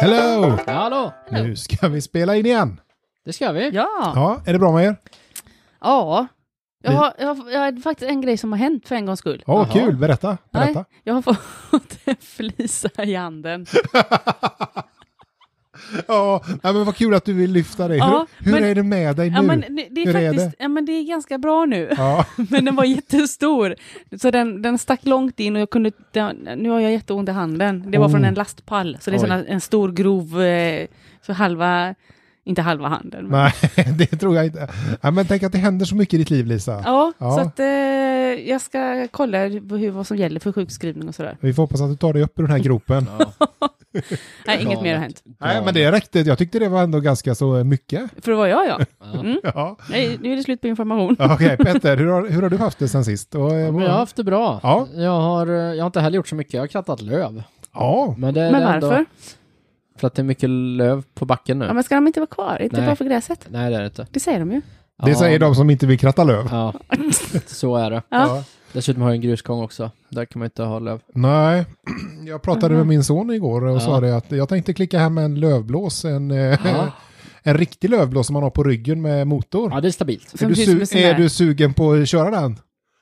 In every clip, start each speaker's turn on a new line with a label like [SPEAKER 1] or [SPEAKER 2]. [SPEAKER 1] Hello!
[SPEAKER 2] Hallå!
[SPEAKER 1] Nu ska vi spela in igen.
[SPEAKER 2] Det ska vi.
[SPEAKER 3] Ja.
[SPEAKER 1] Ja, är det bra med er?
[SPEAKER 3] Ja. Jag
[SPEAKER 1] Vi-
[SPEAKER 3] har, jag, har, jag har faktiskt en grej som har hänt för en gångs skull.
[SPEAKER 1] Ja,
[SPEAKER 2] Jaha.
[SPEAKER 1] kul. Berätta. Berätta.
[SPEAKER 3] Nej, jag har fått en flisa i handen.
[SPEAKER 1] Ja, nej, men vad kul att du vill lyfta dig.
[SPEAKER 3] Ja,
[SPEAKER 1] hur hur
[SPEAKER 3] men-
[SPEAKER 1] är det med dig nu?
[SPEAKER 3] Ja, men det- det är
[SPEAKER 1] Hur är
[SPEAKER 3] faktiskt,
[SPEAKER 1] det?
[SPEAKER 3] ja, men det är ganska bra nu.
[SPEAKER 1] ja.
[SPEAKER 3] Men den var jättestor. Så den, den stack långt in och jag kunde, den, nu har jag jätteont i handen. Det var
[SPEAKER 1] Oh.
[SPEAKER 3] från en lastpall. Så det är
[SPEAKER 1] Oj.
[SPEAKER 3] sån här- en stor grov, eh, så halva, inte halva handen. men-
[SPEAKER 1] Nej, det tror jag inte. Ja, men tänk att det händer så mycket i ditt liv, Lisa.
[SPEAKER 3] Ja,
[SPEAKER 1] Ja.
[SPEAKER 3] så att eh, jag ska kolla hur, vad som gäller för sjukskrivning och sådär.
[SPEAKER 1] Vi får hoppas att du tar dig upp ur den här gropen.
[SPEAKER 3] Nej, inget mer har hänt.
[SPEAKER 1] Nej, men det räckte. Jag tyckte det var ändå ganska så eh, mycket.
[SPEAKER 3] För det var jag, ja.
[SPEAKER 1] Ja.
[SPEAKER 3] Nej, nu är det slut på information.
[SPEAKER 1] Ja, Okej, Peter, hur har, hur har du haft det sen sist? Och, eh,
[SPEAKER 2] Men jag har haft det bra.
[SPEAKER 1] Ja.
[SPEAKER 2] Jag, har, eh, jag har inte heller gjort så mycket. Jag har krattat löv.
[SPEAKER 1] ja.
[SPEAKER 2] Men, det,
[SPEAKER 3] Men
[SPEAKER 2] det är
[SPEAKER 3] varför?
[SPEAKER 2] Ändå, för att det är mycket löv på backen nu.
[SPEAKER 3] Ja, men ska de inte vara kvar? Är inte
[SPEAKER 2] Nej.
[SPEAKER 3] bara för gräset?
[SPEAKER 2] Nej, det är det inte.
[SPEAKER 3] Det säger de ju.
[SPEAKER 1] Det
[SPEAKER 2] Ja,
[SPEAKER 1] säger de som inte vill kratta löv.
[SPEAKER 2] Ja, så är det.
[SPEAKER 3] Ja.
[SPEAKER 2] Dessutom har jag en grusgång också. Där kan man inte ha löv.
[SPEAKER 1] Nej, jag pratade med min son igår och
[SPEAKER 2] Ja.
[SPEAKER 1] sa det att jag tänkte klicka hem en lövblås, en, eh,
[SPEAKER 2] Ja.
[SPEAKER 1] en riktig lövblås som man har på ryggen med motor.
[SPEAKER 2] Ja, det är stabilt.
[SPEAKER 1] är,
[SPEAKER 3] Som
[SPEAKER 1] du
[SPEAKER 3] finns
[SPEAKER 1] su-
[SPEAKER 3] med sån
[SPEAKER 1] är
[SPEAKER 3] här-
[SPEAKER 1] du sugen på att köra den?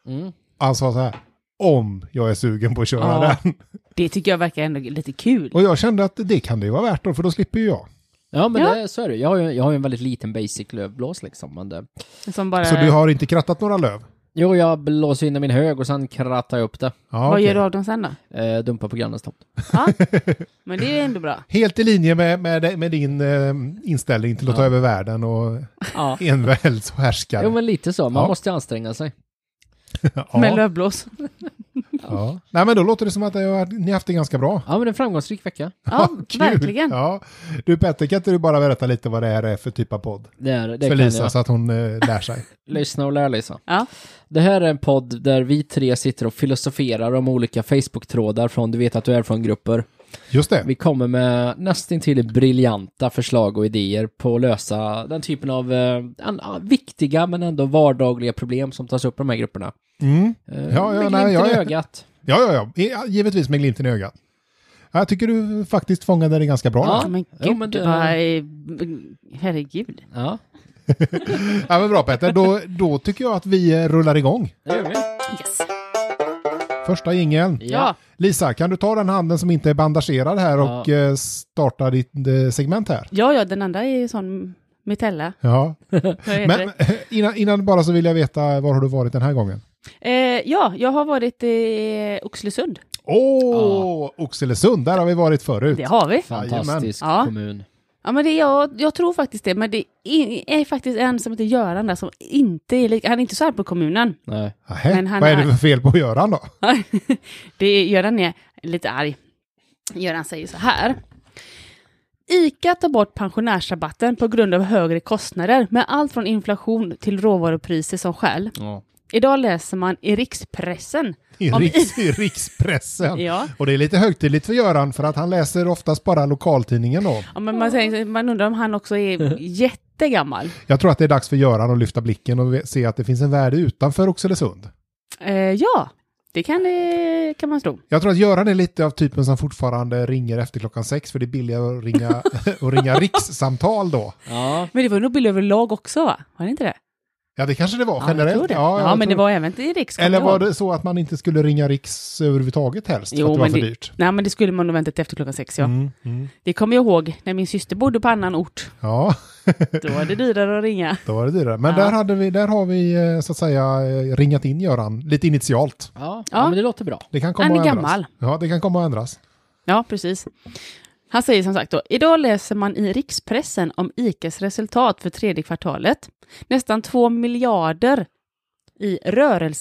[SPEAKER 2] Mm.
[SPEAKER 1] Han sa så här, om jag är sugen på att köra
[SPEAKER 2] Ja.
[SPEAKER 1] den.
[SPEAKER 3] Det tycker jag verkar ändå lite kul.
[SPEAKER 1] Och jag kände att det kan det ju vara värt då, för då slipper ju jag.
[SPEAKER 2] Ja, men
[SPEAKER 3] Ja.
[SPEAKER 2] Det, så är det. Jag har, ju, jag har ju en väldigt liten basic lövblås liksom. Men det...
[SPEAKER 3] Som bara,
[SPEAKER 1] Så du har inte krattat några löv?
[SPEAKER 2] Jo, jag blåser in i min hög och sen krattar jag upp det.
[SPEAKER 1] Ja,
[SPEAKER 3] vad
[SPEAKER 1] okej.
[SPEAKER 3] gör du av dem sen då?
[SPEAKER 2] Eh, dumpar på grannens tomt.
[SPEAKER 3] Ja. Men det är ändå bra.
[SPEAKER 1] Helt i linje med, med, med din eh, inställning till att ta över världen och
[SPEAKER 3] Ja.
[SPEAKER 1] envälds och härskare.
[SPEAKER 2] Jo, men lite så. Man
[SPEAKER 1] Ja.
[SPEAKER 2] måste anstränga sig.
[SPEAKER 1] ja,
[SPEAKER 3] Med lövblås.
[SPEAKER 1] ja. Nej, men då låter det som att jag, ni har haft det ganska bra.
[SPEAKER 2] Ja, men det är en framgångsrik vecka.
[SPEAKER 3] Ja,
[SPEAKER 1] Kul.
[SPEAKER 3] verkligen.
[SPEAKER 1] Ja. Du Petter, kan inte du bara berätta lite vad det här är för typ av podd?
[SPEAKER 2] Det är, det
[SPEAKER 1] för
[SPEAKER 2] kan
[SPEAKER 1] Lisa,
[SPEAKER 2] jag.
[SPEAKER 1] så att hon eh, lär sig.
[SPEAKER 2] Lyssna och lär Lisa.
[SPEAKER 3] Ja.
[SPEAKER 2] Det här är en podd där vi tre sitter och filosoferar om olika Facebook-trådar från Du vet att du är från-grupper.
[SPEAKER 1] Just det.
[SPEAKER 2] Vi kommer med nästintill briljanta förslag och idéer på att lösa den typen av eh, an- ah, viktiga men ändå vardagliga problem som tas upp i de här grupperna.
[SPEAKER 1] Mm.
[SPEAKER 2] Eh,
[SPEAKER 1] Ja, ja,
[SPEAKER 2] med
[SPEAKER 1] nej,
[SPEAKER 2] glimten
[SPEAKER 1] jag
[SPEAKER 2] i
[SPEAKER 1] är-
[SPEAKER 2] ögat.
[SPEAKER 1] Ja, ja, ja. I- ja. Givetvis med glimten i ögat. Ja, Jag tycker du faktiskt fångade det ganska bra.
[SPEAKER 2] Ja.
[SPEAKER 1] Ja.
[SPEAKER 3] Men
[SPEAKER 2] Jo,
[SPEAKER 3] gud,
[SPEAKER 2] men det-
[SPEAKER 3] vad... Herregud.
[SPEAKER 2] Ja,
[SPEAKER 1] ja, men bra Petter. Då, då tycker jag att vi eh, rullar igång.
[SPEAKER 2] det gör vi.
[SPEAKER 3] Yes.
[SPEAKER 1] Första jingeln.
[SPEAKER 2] Ja.
[SPEAKER 3] Ja.
[SPEAKER 1] Lisa, kan du ta den handen som inte är bandagerad här och eh, starta ditt eh, segment här?
[SPEAKER 3] ja, ja, den andra är ju sån Mitella.
[SPEAKER 1] Ja.
[SPEAKER 3] Vad heter
[SPEAKER 1] Men innan, innan bara så vill jag veta, var har du varit den här gången?
[SPEAKER 3] det? Eh, ja, jag har varit i Oxelösund.
[SPEAKER 1] Åh, Oxelösund, där har vi varit förut.
[SPEAKER 3] Det har vi.
[SPEAKER 2] Fantastisk
[SPEAKER 3] Jajamän. Ja.
[SPEAKER 2] kommun.
[SPEAKER 3] Ja, men det, jag, jag tror faktiskt det, men det är, är faktiskt en som heter Göran där som inte är lika, han är inte så här på kommunen.
[SPEAKER 2] Nej.
[SPEAKER 1] Nähä,
[SPEAKER 3] Men han
[SPEAKER 1] vad är det
[SPEAKER 3] har-
[SPEAKER 1] för fel på Göran då?
[SPEAKER 3] det är, Göran är lite arg. Göran säger så här. ICA tar bort pensionärsrabatten på grund av högre kostnader med allt från inflation till råvarupriser som skäl.
[SPEAKER 2] Ja.
[SPEAKER 3] Idag läser man i rikspressen.
[SPEAKER 1] I,
[SPEAKER 3] Om-
[SPEAKER 1] riks, i rikspressen.
[SPEAKER 3] Ja.
[SPEAKER 1] Och det är lite högtidligt för Göran för att han läser oftast bara lokaltidningen då.
[SPEAKER 3] Ja, men man, säger, man undrar om han också är jättegammal.
[SPEAKER 1] Jag tror att det är dags för Göran att lyfta blicken och ve- se att det finns en värld utanför Oxelösund.
[SPEAKER 3] Eh, ja, det kan, det kan man tro.
[SPEAKER 1] Jag tror att Göran är lite av typen som fortfarande ringer efter klockan sex för det är billigare att ringa, att ringa rikssamtal då.
[SPEAKER 2] Ja.
[SPEAKER 3] Men det var nog bild överlag också va? Var det inte det?
[SPEAKER 1] Ja, det kanske det var
[SPEAKER 3] Ja, jag
[SPEAKER 1] generellt.
[SPEAKER 3] tror det.
[SPEAKER 1] Ja,
[SPEAKER 3] Ja,
[SPEAKER 1] jag
[SPEAKER 3] men
[SPEAKER 1] tror
[SPEAKER 3] det var även i riks. kommer
[SPEAKER 1] Eller
[SPEAKER 3] jag
[SPEAKER 1] var
[SPEAKER 3] ihåg.
[SPEAKER 1] det så att man inte skulle ringa riks överhuvudtaget helst? för
[SPEAKER 3] Jo,
[SPEAKER 1] att det var
[SPEAKER 3] men
[SPEAKER 1] för
[SPEAKER 3] det-
[SPEAKER 1] dyrt.
[SPEAKER 3] Nej, men det skulle man nog väntat efter klockan sex, ja.
[SPEAKER 1] Mm, mm.
[SPEAKER 3] Det kommer jag ihåg när min syster bodde på annan ort.
[SPEAKER 1] Ja,
[SPEAKER 3] Då var det dyrare att ringa.
[SPEAKER 1] då var det dyrare. Men
[SPEAKER 3] Ja.
[SPEAKER 1] där, hade vi, där har vi eh, så att säga eh, ringat in Göran lite initialt.
[SPEAKER 2] Ja. ja,
[SPEAKER 3] Ja.
[SPEAKER 2] men det låter bra.
[SPEAKER 1] Det kan komma
[SPEAKER 3] Han är
[SPEAKER 1] att ändras.
[SPEAKER 3] gammal.
[SPEAKER 1] Ja, det kan komma att ändras.
[SPEAKER 3] Ja, precis. Han säger som sagt då, idag läser man i rikspressen om ICAs resultat för tredje kvartalet. Nästan 2 miljarder i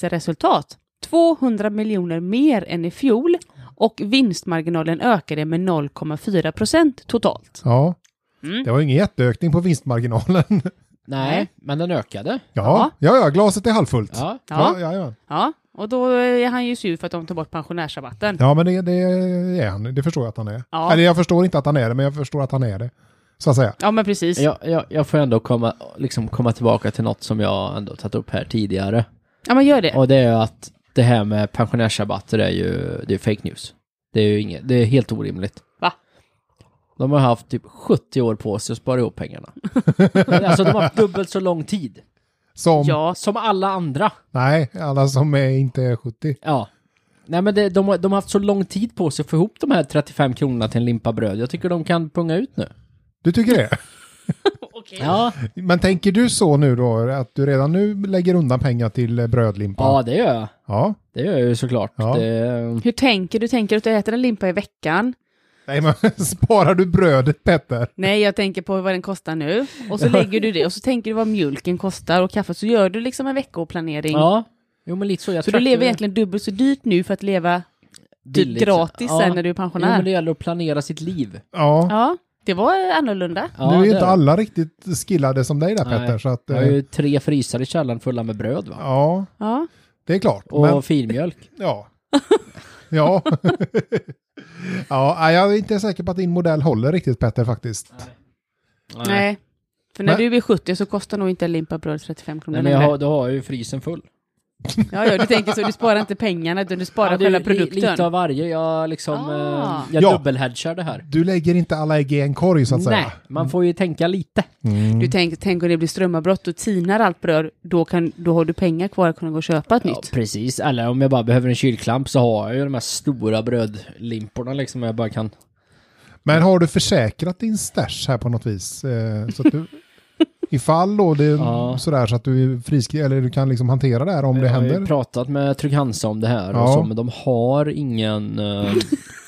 [SPEAKER 3] rörelseresultat. 200 miljoner mer än i fjol och vinstmarginalen ökade med 0,4 procent totalt.
[SPEAKER 1] Ja.
[SPEAKER 3] Mm.
[SPEAKER 1] Det var ju ingen jätteökning på vinstmarginalen.
[SPEAKER 2] Nej, men den ökade.
[SPEAKER 1] Ja, ja, ja glaset är halvfullt.
[SPEAKER 2] Ja.
[SPEAKER 1] Ja, ja,
[SPEAKER 3] Ja.
[SPEAKER 1] ja.
[SPEAKER 3] Ja, och då är han ju sur för att de tar bort pensionärsrabatten.
[SPEAKER 1] ja men det, det är han. Det förstår jag att han är.
[SPEAKER 3] Ja.
[SPEAKER 1] Eller jag förstår inte att han är det, men jag förstår att han är det. Så att säga.
[SPEAKER 3] Ja, men precis.
[SPEAKER 2] Jag, jag, jag får ändå komma, liksom komma tillbaka till något som jag ändå tagit upp här tidigare.
[SPEAKER 3] Ja, men gör det.
[SPEAKER 2] Och det är ju att det här med pensionärsrabatter är ju det är fake news. Det är ju inget, det är helt orimligt.
[SPEAKER 3] Va?
[SPEAKER 2] De har haft typ 70 år på sig att spara ihop pengarna. alltså de har haft dubbelt så lång tid.
[SPEAKER 1] Som,
[SPEAKER 3] Ja,
[SPEAKER 2] Som alla andra.
[SPEAKER 1] nej, alla som är inte är 70.
[SPEAKER 2] Ja. Nej men det, de, har- de har haft så lång tid på sig att få ihop de här 35 kronorna till en limpa bröd. Jag tycker de kan punga ut nu.
[SPEAKER 1] Du tycker det?
[SPEAKER 2] Ja,
[SPEAKER 1] Men tänker du så nu då, att du redan nu lägger undan pengar till eh, brödlimpa?
[SPEAKER 2] ja det gör jag.
[SPEAKER 1] Ja.
[SPEAKER 2] Det gör jag ju såklart.
[SPEAKER 1] Ja.
[SPEAKER 2] Det,
[SPEAKER 3] hur tänker du? Tänker du att du äter en limpa i veckan?
[SPEAKER 1] Nej, men sparar du brödet Petter?
[SPEAKER 3] Nej, jag tänker på vad den kostar nu. Och så lägger du det och så tänker du vad mjölken kostar och kaffet. Så gör du liksom en veckoplanering.
[SPEAKER 2] ja. Jo men lite så. Jag
[SPEAKER 3] så
[SPEAKER 2] tror att
[SPEAKER 3] du lever
[SPEAKER 2] det är
[SPEAKER 3] egentligen dubbelt så dyrt nu för att leva typ
[SPEAKER 2] billigt.
[SPEAKER 3] gratis
[SPEAKER 2] Ja.
[SPEAKER 3] sen när du är
[SPEAKER 2] Jo men
[SPEAKER 3] pensionär.
[SPEAKER 2] det gäller att planera sitt liv.
[SPEAKER 1] Ja.
[SPEAKER 3] Ja, det var annorlunda.
[SPEAKER 2] Ja,
[SPEAKER 1] nu är
[SPEAKER 2] det
[SPEAKER 1] ju inte
[SPEAKER 2] det.
[SPEAKER 1] alla riktigt skillade som dig där
[SPEAKER 2] Nej.
[SPEAKER 1] Petter, så att...
[SPEAKER 2] Jag
[SPEAKER 1] eh,
[SPEAKER 2] har ju tre frysar i källaren fulla med bröd va?
[SPEAKER 1] Ja,
[SPEAKER 3] Ja.
[SPEAKER 1] det är klart.
[SPEAKER 2] Och
[SPEAKER 1] Men,
[SPEAKER 2] filmjölk.
[SPEAKER 1] ja. ja. ja, nej, jag är inte säker på att din modell håller riktigt Petter faktiskt.
[SPEAKER 3] Nej. För när
[SPEAKER 1] Men-
[SPEAKER 3] du blir 70 så kostar nog inte en limpa bröd 35 kronor
[SPEAKER 2] Nej, men jag
[SPEAKER 3] längre.
[SPEAKER 2] har, då har jag ju frysen full.
[SPEAKER 3] Ja, ja, du tänker så. Du sparar inte pengarna, utan du sparar
[SPEAKER 2] Ja, det är
[SPEAKER 3] själva
[SPEAKER 2] ju li-
[SPEAKER 3] produkten.
[SPEAKER 2] Lite av varje. Jag liksom...
[SPEAKER 3] Ah.
[SPEAKER 2] Eh, jag
[SPEAKER 1] Ja.
[SPEAKER 2] dubbelhedgar det här.
[SPEAKER 1] Du lägger inte alla ägg i en korg så att
[SPEAKER 2] Nej,
[SPEAKER 1] säga.
[SPEAKER 2] man får ju tänka lite.
[SPEAKER 1] Mm.
[SPEAKER 3] Du tänker, tänk om det blir strömavbrott och tinar allt bröd, då, kan, då har du pengar kvar att kunna gå och köpa ett
[SPEAKER 2] Ja,
[SPEAKER 3] nytt.
[SPEAKER 2] precis. Eller om jag bara behöver en kylklamp så har jag ju de här stora brödlimporna liksom. Jag bara kan...
[SPEAKER 1] Men har du försäkrat din stash här på något vis? Eh, så att du, ifall då det är
[SPEAKER 2] Ja.
[SPEAKER 1] sådär så att du är friskriven, eller du kan liksom hantera det här om det
[SPEAKER 2] jag har
[SPEAKER 1] händer.
[SPEAKER 2] ju pratat med Trygg-Hansa om det här och
[SPEAKER 1] Ja.
[SPEAKER 2] så, men de har ingen eh,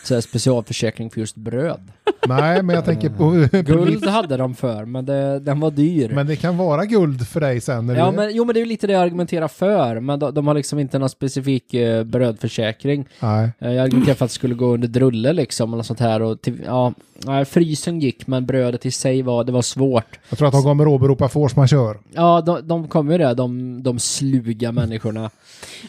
[SPEAKER 2] så här specialförsäkring för just bröd.
[SPEAKER 1] Nej, men jag tänker på...
[SPEAKER 2] Guld hade de för, men det, den var dyr.
[SPEAKER 1] men det kan vara guld för dig sen. När
[SPEAKER 2] Ja,
[SPEAKER 1] du,
[SPEAKER 2] men, jo, men det är ju lite det jag argumenterar för, men de, de har liksom inte någon specifik eh, brödförsäkring.
[SPEAKER 1] Nej.
[SPEAKER 2] Eh, Jag argumenterar för att det skulle gå under drulle liksom, eller något sånt här. Och till, ja, nej, frysen gick, men brödet i sig var, det var svårt.
[SPEAKER 1] Jag tror att de kommer åberopa force majeure.
[SPEAKER 2] Ja, de, de kom ju det, de, de sluga människorna.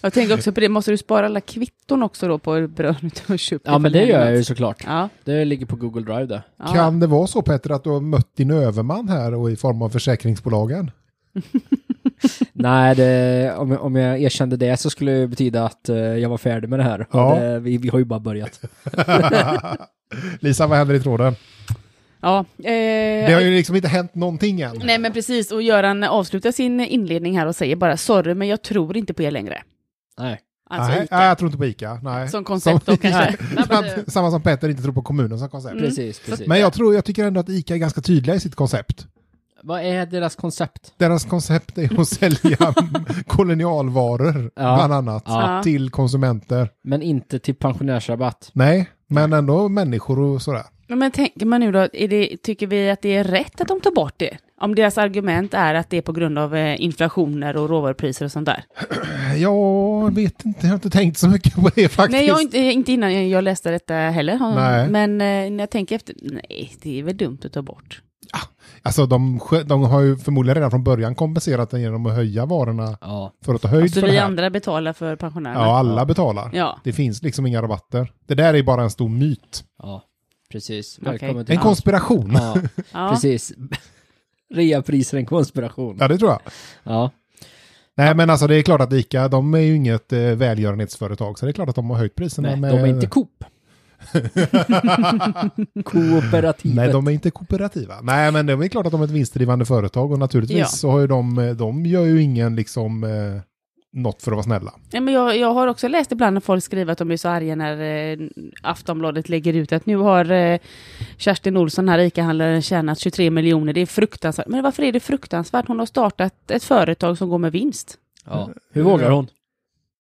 [SPEAKER 3] Jag tänker också på det, måste du spara alla kvitton också då på bröd du har köpt?
[SPEAKER 2] Ja, men det gör jag ju såklart.
[SPEAKER 3] Ja,
[SPEAKER 2] Det ligger på Google Drive det.
[SPEAKER 3] ja.
[SPEAKER 1] Kan det vara så Petter att du har mött din överman här och i form av försäkringsbolagen?
[SPEAKER 2] Nej, det, om, jag- om jag erkände det så skulle det betyda att eh, jag var färdig med det här.
[SPEAKER 1] Ja.
[SPEAKER 2] Och Det, vi, vi har ju bara börjat.
[SPEAKER 1] Lisa, vad händer i
[SPEAKER 3] Eh,
[SPEAKER 1] tråden?
[SPEAKER 3] ja.
[SPEAKER 1] Det
[SPEAKER 3] Eh,
[SPEAKER 1] har ju liksom inte hänt någonting än.
[SPEAKER 3] Nej, men precis. Och Göran avslutar sin inledning här och säger bara sorry, men jag tror inte på er längre.
[SPEAKER 2] Nej.
[SPEAKER 3] Alltså
[SPEAKER 1] nej,
[SPEAKER 3] Ica.
[SPEAKER 1] nej, jag tror inte på Ica. Nej.
[SPEAKER 3] Som koncept då kanske. Nej, men det- Mm.
[SPEAKER 1] Samma som Petter inte tror på kommunen som koncept.
[SPEAKER 2] Precis, precis.
[SPEAKER 1] Men jag tror, jag tycker ändå att Ica är ganska tydliga i sitt koncept.
[SPEAKER 2] Vad är deras koncept?
[SPEAKER 1] Deras koncept är att sälja kolonialvaror,
[SPEAKER 2] Ja.
[SPEAKER 1] bland annat,
[SPEAKER 3] Ja.
[SPEAKER 1] till konsumenter.
[SPEAKER 2] Men inte till pensionärsrabatt.
[SPEAKER 1] Nej, men ändå människor och sådär.
[SPEAKER 3] Ja, Men tänker man nu då, är det, tycker vi att det är rätt att de tar bort det? Om deras argument är att det är på grund av eh, inflationer och råvarupriser och sånt där.
[SPEAKER 1] Jag vet inte, jag har inte tänkt så mycket på det faktiskt.
[SPEAKER 3] Nej, jag, har inte, inte innan jag- jag läste detta heller. Har-
[SPEAKER 1] Nej.
[SPEAKER 3] Men eh, när jag tänker efter, nej, det är väl dumt att ta bort.
[SPEAKER 1] Alltså de, skö- de har ju förmodligen redan från början kompenserat den genom att höja varorna
[SPEAKER 2] Ja.
[SPEAKER 1] för att ta höjd
[SPEAKER 3] Så
[SPEAKER 1] för det
[SPEAKER 3] Alltså, vi
[SPEAKER 1] här.
[SPEAKER 3] andra betalar för pensionärerna.
[SPEAKER 1] Ja, alla betalar.
[SPEAKER 3] Ja.
[SPEAKER 1] Det finns liksom inga rabatter. Det där är bara en stor myt.
[SPEAKER 2] Ja, precis.
[SPEAKER 3] Okej.
[SPEAKER 2] Välkommen till...
[SPEAKER 1] En konspiration. Ja,
[SPEAKER 2] Ja,
[SPEAKER 3] Ja.
[SPEAKER 2] precis. Reapriser en konspiration.
[SPEAKER 1] det tror jag.
[SPEAKER 2] Ja.
[SPEAKER 1] Nej, men alltså det är klart att ICA, de är ju inget eh, välgörenhetsföretag, så det är klart att de har höjt priserna.
[SPEAKER 2] Nej,
[SPEAKER 1] med...
[SPEAKER 2] de är inte Coop. Kooperativet.
[SPEAKER 1] Nej, de är inte kooperativa. Nej, men det är klart att de är ett vinstdrivande företag och naturligtvis
[SPEAKER 3] Ja.
[SPEAKER 1] så har ju de, eh, de gör ju ingen liksom eh, något för att vara snälla.
[SPEAKER 3] Nej, men jag, jag har också läst ibland när folk skriver att de är så arga när eh, Aftonbladet lägger ut att nu har eh, Kerstin Olsson, här ICA-handlaren, tjänat 23 miljoner. Det är fruktansvärt. Men varför är det fruktansvärt? Hon har startat ett företag som går med vinst.
[SPEAKER 2] Ja. Hur vågar hon?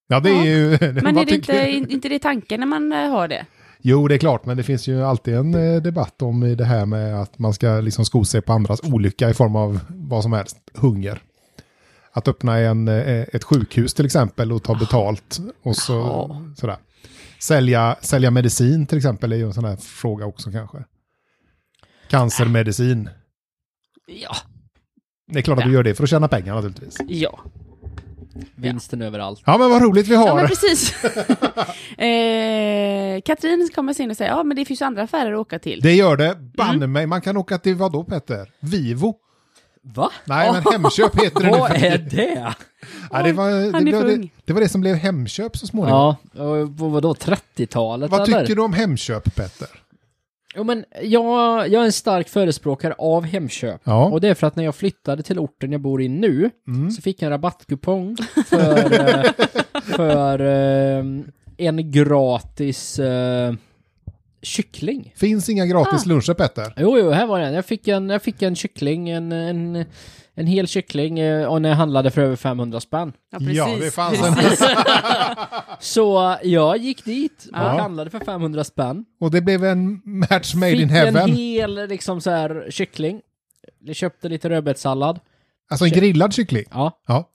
[SPEAKER 1] Ja, det är
[SPEAKER 3] Ja.
[SPEAKER 1] ju...
[SPEAKER 3] Men
[SPEAKER 1] vad
[SPEAKER 3] är det
[SPEAKER 1] tycker-
[SPEAKER 3] inte, in- inte det tanken när man eh, har det?
[SPEAKER 1] Jo, det är klart, men det finns ju alltid en eh, debatt om eh, det här med att man ska liksom sko sig på andras olycka i form av vad som helst, hunger. Att öppna en, eh, ett sjukhus till exempel och ta betalt och så,
[SPEAKER 3] Ja.
[SPEAKER 1] sådär. Sälja, sälja medicin till exempel är ju en sån här fråga också kanske. Cancermedicin.
[SPEAKER 3] Ja.
[SPEAKER 1] Det är klart att du gör det för att tjäna pengar naturligtvis.
[SPEAKER 3] Ja.
[SPEAKER 2] Vinsten överallt.
[SPEAKER 1] Ja, men vad roligt vi
[SPEAKER 3] Ja, men
[SPEAKER 1] har.
[SPEAKER 3] precis. eh, Katrin kommer sen och säger, ja men det finns ju andra affärer att åka till.
[SPEAKER 1] Det gör det. Banne
[SPEAKER 3] Mm.
[SPEAKER 1] mig, man kan åka till vad då Petter? Vivo?
[SPEAKER 2] Va?
[SPEAKER 1] Nej, men Hemköp heter det nu.
[SPEAKER 2] Vad
[SPEAKER 1] för
[SPEAKER 2] är
[SPEAKER 1] tiden.
[SPEAKER 2] det?
[SPEAKER 1] Ja, det, var,
[SPEAKER 3] han är
[SPEAKER 1] det, blev,
[SPEAKER 3] för
[SPEAKER 1] det,
[SPEAKER 3] ung.
[SPEAKER 1] det var det som blev Hemköp så småningom.
[SPEAKER 2] Ja, och på vadå, 30-talet
[SPEAKER 1] Vad
[SPEAKER 2] eller?
[SPEAKER 1] tycker du om Hemköp, Petter?
[SPEAKER 2] Jo, men jag, jag är en stark förespråkare av Hemköp.
[SPEAKER 1] Ja.
[SPEAKER 2] Och det är för att när jag flyttade till orten jag bor i nu
[SPEAKER 1] Mm.
[SPEAKER 2] så fick jag en rabattkupong för, eh, för eh, en gratis eh, kyckling.
[SPEAKER 1] Finns inga gratis
[SPEAKER 3] Ah.
[SPEAKER 1] luncher Petter.
[SPEAKER 2] Jo, jo, här var den. Jag fick en, jag fick en kyckling, en, en, en hel kyckling eh, och när jag handlade för över 500 spänn.
[SPEAKER 3] Ja,
[SPEAKER 1] Ja, det fanns en.
[SPEAKER 3] precis.
[SPEAKER 2] Så eh, jag gick dit och
[SPEAKER 1] Ah. Ja.
[SPEAKER 2] handlade för 500 spänn.
[SPEAKER 1] Och det blev en match made
[SPEAKER 2] Fick
[SPEAKER 1] in
[SPEAKER 2] en
[SPEAKER 1] heaven.
[SPEAKER 2] hel liksom så här kyckling. Jag köpte lite rödbetssallad.
[SPEAKER 1] Alltså en grillad kyckling.
[SPEAKER 2] Ja.
[SPEAKER 1] Ja.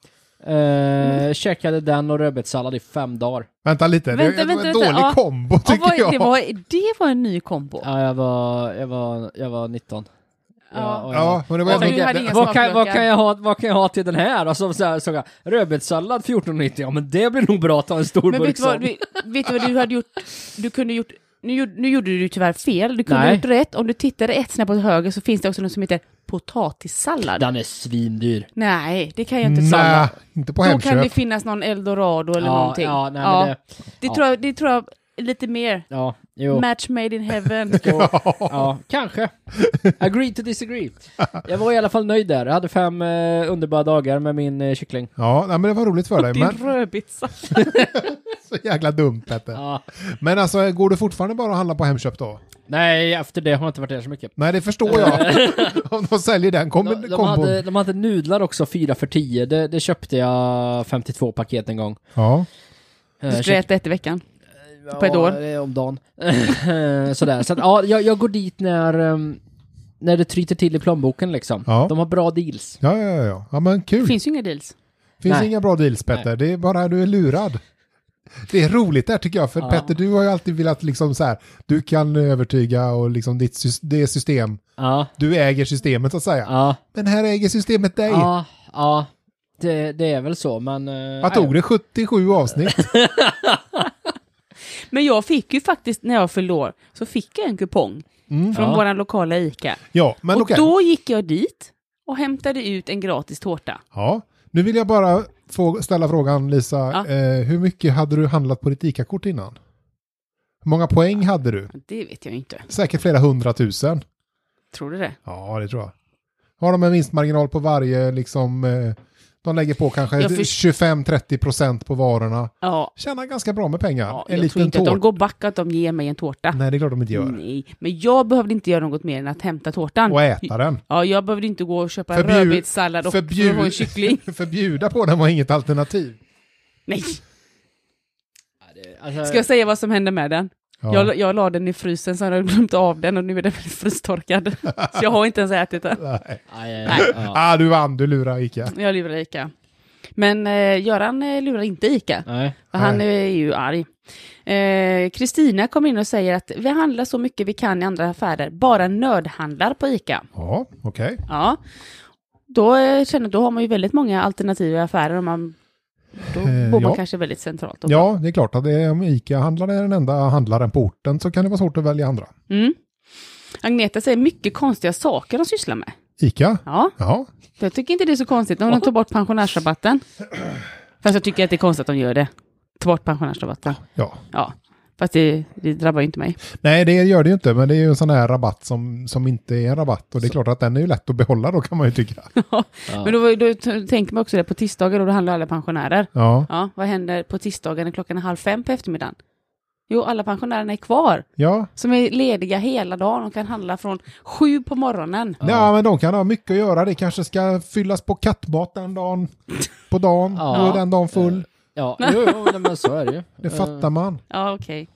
[SPEAKER 2] Eh, Käkade den och rödbetssallad i fem dagar.
[SPEAKER 1] Vänta lite,
[SPEAKER 3] Vänta,
[SPEAKER 1] det är en
[SPEAKER 3] vänta,
[SPEAKER 1] dålig
[SPEAKER 3] vänta. Ja.
[SPEAKER 1] kombo
[SPEAKER 3] Ja,
[SPEAKER 1] tycker
[SPEAKER 3] vad, är- det,
[SPEAKER 1] jag.
[SPEAKER 3] var, det var en ny kombo.
[SPEAKER 2] Ja, jag var, jag var, jag var 19.
[SPEAKER 3] Ja.
[SPEAKER 2] och jag-
[SPEAKER 1] Ja, men det var
[SPEAKER 3] Ja, men
[SPEAKER 1] ändå-
[SPEAKER 3] du hade inga
[SPEAKER 2] Vad kan, vad,
[SPEAKER 3] smaklökar.
[SPEAKER 2] kan jag ha, vad kan jag ha till den här? Och så, så här, såg jag, rödbetssallad 14,90. Ja men det blir nog bra att ta en stor
[SPEAKER 3] Men vet
[SPEAKER 2] burk
[SPEAKER 3] du, vad,
[SPEAKER 2] sån.
[SPEAKER 3] du, vet du vad du hade gjort? Du kunde gjort nu, gjorde- nu gjorde du ju tyvärr fel. Du kunde
[SPEAKER 2] Nej.
[SPEAKER 3] ha gjort rätt. Om du tittade ett snäpp åt höger så finns det också något som heter potatissallad.
[SPEAKER 2] Den är svindyr.
[SPEAKER 3] Nej, det kan jag inte
[SPEAKER 1] Nej,
[SPEAKER 3] sallad.
[SPEAKER 1] inte på
[SPEAKER 3] Då kan det
[SPEAKER 1] Hemköp.
[SPEAKER 3] finnas någon eldorado eller
[SPEAKER 2] ja,
[SPEAKER 3] någonting.
[SPEAKER 2] ja, nej,
[SPEAKER 3] Ja.
[SPEAKER 2] Men det,
[SPEAKER 3] det,
[SPEAKER 2] ja.
[SPEAKER 3] Tror jag, det tror jag är lite mer.
[SPEAKER 2] ja, jo.
[SPEAKER 3] Match made in heaven.
[SPEAKER 2] Ja, kanske. Agree to disagree. Jag var i alla fall nöjd där. Jag hade fem eh, underbara dagar med min eh, kyckling.
[SPEAKER 1] Ja, nej, men det var roligt för dig.
[SPEAKER 3] Din
[SPEAKER 1] Men
[SPEAKER 3] rödbetssallad.
[SPEAKER 1] så jäkla dumt Petter.
[SPEAKER 2] Ja.
[SPEAKER 1] Men alltså, går du fortfarande bara att handla på Hemköp då?
[SPEAKER 2] Nej, efter det har jag inte varit där så mycket.
[SPEAKER 1] Nej, det förstår jag. Om de säljer den kom,
[SPEAKER 2] De, de,
[SPEAKER 1] kombon.
[SPEAKER 2] hade, de hade nudlar också, 4 för 10. Det, det köpte jag 52 paket en gång.
[SPEAKER 1] Ja.
[SPEAKER 2] Eh,
[SPEAKER 3] Du skulle
[SPEAKER 2] kyck-
[SPEAKER 3] äta ett i veckan. på ett
[SPEAKER 2] ja,
[SPEAKER 3] år.
[SPEAKER 2] det är om dagen. Eh, Sådär. Så att, ja, jag, jag går dit när, ehm, när det tryter till i plånboken liksom.
[SPEAKER 1] Ja.
[SPEAKER 2] De har bra deals.
[SPEAKER 1] Ja, ja, ja, ja. Ja, men kul.
[SPEAKER 3] Det
[SPEAKER 1] Finns,
[SPEAKER 3] finns ju inga deals.
[SPEAKER 2] Nej.
[SPEAKER 1] inga bra deals, Petter. Det är bara du är lurad. Det är roligt där tycker jag, för
[SPEAKER 2] Ja.
[SPEAKER 1] Petter, du har ju alltid velat liksom så här, du kan övertyga och liksom ditt sys- det system,
[SPEAKER 2] Ja,
[SPEAKER 1] du äger systemet så att säga.
[SPEAKER 2] ja,
[SPEAKER 1] Men här äger systemet dig.
[SPEAKER 2] ja, ja. Det, det är väl så, men... eh,
[SPEAKER 1] Vad tog det? 77 avsnitt?
[SPEAKER 3] Men jag fick ju faktiskt, när jag fyllde år, så fick jag en kupong från
[SPEAKER 2] Ja.
[SPEAKER 3] vår lokala ICA.
[SPEAKER 1] Ja, Mm. men
[SPEAKER 3] och
[SPEAKER 1] okej.
[SPEAKER 3] då gick jag dit och hämtade ut en gratis tårta.
[SPEAKER 1] Ja, nu vill jag bara få ställa frågan Lisa.
[SPEAKER 3] Ja.
[SPEAKER 1] Eh, hur mycket hade du handlat på ditt ICA-kort innan? Hur många poäng hade du?
[SPEAKER 3] Det vet jag inte.
[SPEAKER 1] Säkert flera hundratusen.
[SPEAKER 3] Tror du det?
[SPEAKER 1] Ja, det tror jag. Har de en vinstmarginal på varje, liksom, eh, de lägger på kanske
[SPEAKER 3] Jag först-
[SPEAKER 1] 25-30 procent på varorna.
[SPEAKER 3] Ja.
[SPEAKER 1] Tjänar ganska bra med pengar.
[SPEAKER 3] ja
[SPEAKER 1] en
[SPEAKER 3] jag tror
[SPEAKER 1] liten
[SPEAKER 3] inte att de
[SPEAKER 1] tårta.
[SPEAKER 3] går Mm. back att de ger mig en tårta.
[SPEAKER 1] Nej, det är klart de inte gör.
[SPEAKER 3] Nej. Men jag behövde inte göra något mer än att hämta tårtan.
[SPEAKER 1] Och äta den.
[SPEAKER 3] Ja, jag behövde inte gå och köpa en
[SPEAKER 1] Förbjud-
[SPEAKER 3] rödbetssallad och
[SPEAKER 1] förbjud-
[SPEAKER 3] få en kyckling.
[SPEAKER 1] Förbjuda på den var inget alternativ.
[SPEAKER 3] Nej,
[SPEAKER 2] Alltså,
[SPEAKER 3] ska jag säga vad som hände med den?
[SPEAKER 1] Ja.
[SPEAKER 3] Jag, jag la den i frysen, så har jag glömt av den och nu är den frystorkad. så jag har inte ens ätit den.
[SPEAKER 1] Nej.
[SPEAKER 2] aj, aj, aj, ja.
[SPEAKER 1] Ah, du vann, du lurar ICA.
[SPEAKER 3] Jag lurar Ica. Men eh, Göran eh, lurar inte Ica,
[SPEAKER 2] Nej.
[SPEAKER 3] för han är ju arg. Eh, Kristina kom in och säger att vi handlar så mycket vi kan i andra affärer, bara nödhandlar på Ica.
[SPEAKER 1] Ja, okej.
[SPEAKER 3] Ja. Då eh, känner då har man ju väldigt många alternativa affärer och man, då
[SPEAKER 1] Eh,
[SPEAKER 3] bor man
[SPEAKER 1] ja.
[SPEAKER 3] kanske väldigt centralt. Och,
[SPEAKER 1] Ja, det är klart att det är, om ICA-handlaren är den enda handlaren på orten så kan det vara svårt att välja andra.
[SPEAKER 3] Mm. Agneta säger mycket konstiga saker de sysslar med.
[SPEAKER 1] ICA?
[SPEAKER 3] Ja,
[SPEAKER 1] Ja.
[SPEAKER 3] jag tycker inte det är så konstigt om de tar bort pensionärsrabatten. Fast jag tycker att det är konstigt att de gör det. Ta bort pensionärsrabatten.
[SPEAKER 1] ja.
[SPEAKER 3] Ja, fast det, det drabbar ju inte mig.
[SPEAKER 1] Nej, det gör det ju inte, men det är ju en sån här rabatt som, som inte är en rabatt. Och det är klart att den är ju lätt att behålla då kan man ju tycka.
[SPEAKER 3] Men då, var- då t- tänker man också det på tisdagar och då handlar alla pensionärer.
[SPEAKER 1] Ja,
[SPEAKER 3] Ja, vad händer på tisdagar när klockan är halv fem på eftermiddagen? Jo, alla pensionärerna är kvar,
[SPEAKER 1] ja.
[SPEAKER 3] som är lediga hela dagen och kan handla från sju på morgonen.
[SPEAKER 1] Ja. men de kan ha mycket att göra. Det kanske ska fyllas på kattmat den dagen, på dagen,
[SPEAKER 2] Ja.
[SPEAKER 1] då är den dagen full.
[SPEAKER 2] Ja, jo, jo, nej, men så är det ju. Eh,
[SPEAKER 1] Det fattar man.
[SPEAKER 3] Ja, okej.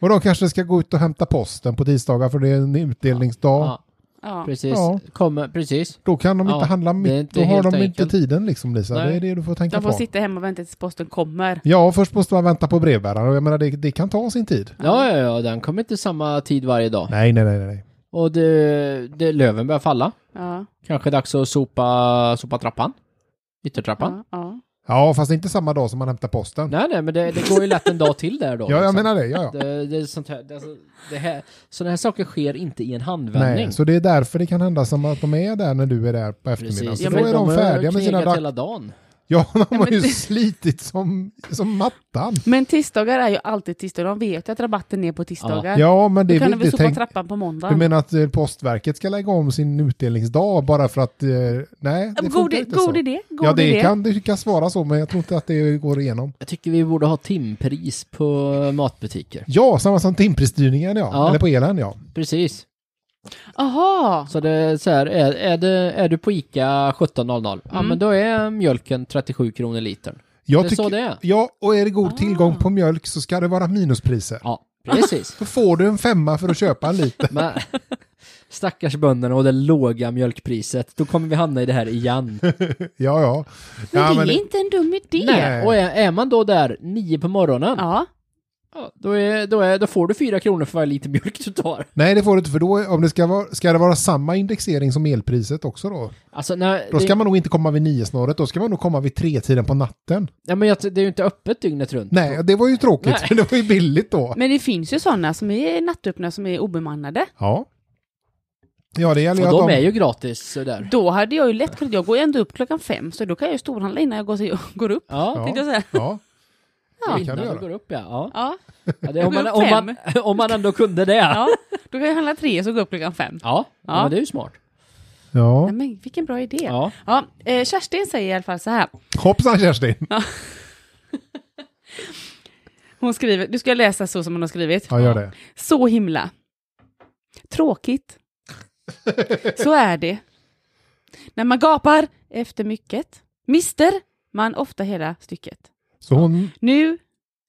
[SPEAKER 1] Och de kanske ska gå ut och hämta posten på tisdagar för det är en utdelningsdag.
[SPEAKER 2] Ja,
[SPEAKER 3] Ja.
[SPEAKER 2] precis.
[SPEAKER 1] Ja.
[SPEAKER 2] Kommer, precis.
[SPEAKER 1] Då kan de
[SPEAKER 2] Ja,
[SPEAKER 1] inte handla
[SPEAKER 2] det är
[SPEAKER 1] mitt,
[SPEAKER 2] inte
[SPEAKER 1] då har
[SPEAKER 2] helt
[SPEAKER 1] de inte
[SPEAKER 2] enkelt.
[SPEAKER 1] tiden liksom Lisa.
[SPEAKER 2] Nej.
[SPEAKER 1] Det är det du får tänka
[SPEAKER 3] De får
[SPEAKER 1] på.
[SPEAKER 3] sitta hemma och vänta tills posten kommer.
[SPEAKER 1] Ja, först måste man vänta på brevbäraren. Och Jag menar, det, det kan ta sin tid.
[SPEAKER 2] Ja, ja, ja, den kommer inte samma tid varje dag.
[SPEAKER 1] Nej, nej, nej, nej.
[SPEAKER 2] Och det, det, löven börjar falla.
[SPEAKER 3] Ja,
[SPEAKER 2] Kanske dags att sopa, sopa trappan. Yttertrappan.
[SPEAKER 3] ja, ja.
[SPEAKER 1] Ja, fast inte samma dag som man hämtar posten.
[SPEAKER 2] Nej, nej, men det, det går ju lätt en dag till där då.
[SPEAKER 1] ja, jag
[SPEAKER 2] liksom.
[SPEAKER 1] menar det. Ja, ja.
[SPEAKER 2] Det, det är sånt här, det, är så- det här, sådana här saker sker inte i en handvändning.
[SPEAKER 1] Nej, så det är därför det kan hända som att de är där när du är där på eftermiddagen.
[SPEAKER 2] Precis.
[SPEAKER 1] Så då är de
[SPEAKER 2] har
[SPEAKER 1] färdiga med sina
[SPEAKER 2] knegat
[SPEAKER 1] dag.
[SPEAKER 2] hela dagen.
[SPEAKER 1] Ja, de
[SPEAKER 3] men
[SPEAKER 1] har ju
[SPEAKER 3] det-
[SPEAKER 1] slitit som, som mattan.
[SPEAKER 3] Men tisdagar är ju alltid tisdagar. De vet ju att rabatten är på tisdagar.
[SPEAKER 1] Ja, men det
[SPEAKER 3] Då
[SPEAKER 1] är väl
[SPEAKER 3] kan de väl
[SPEAKER 1] inte
[SPEAKER 3] stå på
[SPEAKER 1] tänkt.
[SPEAKER 3] trappan på måndag.
[SPEAKER 1] Du menar att eh, Postverket ska lägga om sin utdelningsdag bara för att... eh, Nej, det
[SPEAKER 3] god
[SPEAKER 1] funkar inte så.
[SPEAKER 3] god idé. God
[SPEAKER 1] ja, det
[SPEAKER 3] idé.
[SPEAKER 1] kan, det kan svara så, men jag tror inte att det går igenom.
[SPEAKER 2] Jag tycker vi borde ha timpris på matbutiker.
[SPEAKER 1] Ja, samma som timpristyrningen, ja.
[SPEAKER 2] Ja.
[SPEAKER 1] Eller på elen, ja.
[SPEAKER 2] Precis.
[SPEAKER 3] Aha.
[SPEAKER 2] Så det är så här, är, är, det, är du på ICA 17.00, ja men då är mjölken 37 kronor litern.
[SPEAKER 1] Jag
[SPEAKER 2] Det är så det är.
[SPEAKER 1] Ja, och är det
[SPEAKER 3] Ah.
[SPEAKER 1] god tillgång på mjölk så ska det vara minuspriser.
[SPEAKER 2] Ja, precis.
[SPEAKER 1] Då får du en femma för att köpa en liter.
[SPEAKER 2] Men, stackars bönderna och det låga mjölkpriset, då kommer vi hamna i det här igen.
[SPEAKER 1] Ja, ja.
[SPEAKER 3] Men
[SPEAKER 1] ja
[SPEAKER 3] det är inte en dum idé.
[SPEAKER 2] Nej, och är, är man då där nio på morgonen,
[SPEAKER 3] Ja.
[SPEAKER 2] ja, då, är, då, är, då får du fyra kronor för varje liter mjölk du tar.
[SPEAKER 1] nej, det får du inte, för då om det ska, vara, ska det vara samma indexering som elpriset också då?
[SPEAKER 2] Alltså, nej,
[SPEAKER 1] Då
[SPEAKER 2] det,
[SPEAKER 1] ska man nog inte komma vid niosnåret, då ska man nog komma vid tretiden på natten.
[SPEAKER 2] nej, men jag, det är ju inte öppet dygnet runt.
[SPEAKER 1] Nej, det var ju tråkigt,
[SPEAKER 2] Nej.
[SPEAKER 1] för det var ju billigt då.
[SPEAKER 3] Men det finns ju sådana som är nattöppna som är obemannade.
[SPEAKER 1] Ja. Ja, det gäller
[SPEAKER 2] Och
[SPEAKER 1] att
[SPEAKER 2] de är ju gratis så där.
[SPEAKER 3] Då hade jag ju lätt kunnat, jag går ju ändå upp klockan fem, så då kan jag ju storhandla innan jag går, till, går upp.
[SPEAKER 2] Ja,
[SPEAKER 3] Tänkte jag säga.
[SPEAKER 1] Ja.
[SPEAKER 3] Ja.
[SPEAKER 1] Det kan
[SPEAKER 2] innan
[SPEAKER 1] du
[SPEAKER 2] det
[SPEAKER 1] göra.
[SPEAKER 2] går upp ja. ja.
[SPEAKER 3] Ja.
[SPEAKER 2] ja det, om,
[SPEAKER 3] går
[SPEAKER 2] man,
[SPEAKER 3] upp
[SPEAKER 2] om,
[SPEAKER 3] fem.
[SPEAKER 2] man, om man ändå kunde det. Ja,
[SPEAKER 3] ja. Då kan jag handla tre så går jag upp klockan fem.
[SPEAKER 2] ja.
[SPEAKER 3] Ja.
[SPEAKER 2] men det är ju smart.
[SPEAKER 1] Ja.
[SPEAKER 3] Nej, men vilken bra idé. Ja.
[SPEAKER 2] Ja.
[SPEAKER 3] eh, Kerstin säger i alla fall så här.
[SPEAKER 1] Hoppsan Kerstin!
[SPEAKER 3] Hon skriver, du ska jag läsa så som hon har skrivit.
[SPEAKER 1] Ja, gör det.
[SPEAKER 3] Så himla. Tråkigt. Så är det. När man gapar efter mycket mister man ofta hela stycket.
[SPEAKER 1] Så hon,
[SPEAKER 3] Nu,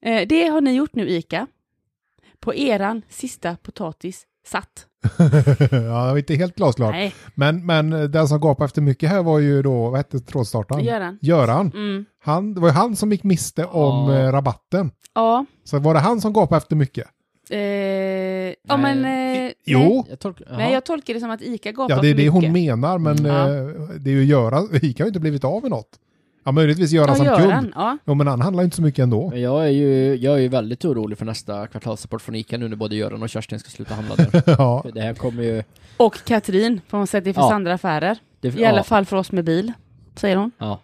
[SPEAKER 3] eh, det har ni gjort nu Ica. På eran sista potatis satt.
[SPEAKER 1] ja, det var inte helt glasklart.
[SPEAKER 3] Nej,
[SPEAKER 1] Men, men den som gapade efter mycket här var ju då, vad hette trådstartaren?
[SPEAKER 3] Göran.
[SPEAKER 1] Göran.
[SPEAKER 3] Mm.
[SPEAKER 1] Han, det var ju han som gick miste om
[SPEAKER 2] Ja.
[SPEAKER 1] eh, rabatten.
[SPEAKER 3] Ja.
[SPEAKER 1] Så var det han som gapade efter mycket?
[SPEAKER 3] Eh, ja men... Eh, Nej.
[SPEAKER 1] Jo,
[SPEAKER 2] Jag tolkar, ja.
[SPEAKER 3] Nej, jag tolkar det som att Ica gapar
[SPEAKER 1] ja, det är
[SPEAKER 3] för
[SPEAKER 1] det hon
[SPEAKER 3] mycket.
[SPEAKER 1] menar, men
[SPEAKER 3] Mm. Ja.
[SPEAKER 1] eh, det är ju Göran, Ica har ju inte blivit av med något. Ja, möjligtvis Göran
[SPEAKER 3] Ja,
[SPEAKER 1] som
[SPEAKER 3] Göran.
[SPEAKER 1] kund.
[SPEAKER 3] Ja.
[SPEAKER 1] Jo, men han handlar ju inte så mycket ändå.
[SPEAKER 2] Men jag är ju, jag är ju väldigt orolig för nästa kvartalsrapport från ICA nu när både Göran och Kerstin ska sluta handla där.
[SPEAKER 1] ja.
[SPEAKER 2] För det här kommer ju...
[SPEAKER 3] Och Katrin, för hon säger att det finns
[SPEAKER 2] Ja.
[SPEAKER 3] andra affärer.
[SPEAKER 2] Det,
[SPEAKER 3] I alla
[SPEAKER 2] ja,
[SPEAKER 3] fall för oss med bil, säger hon.
[SPEAKER 2] Ja.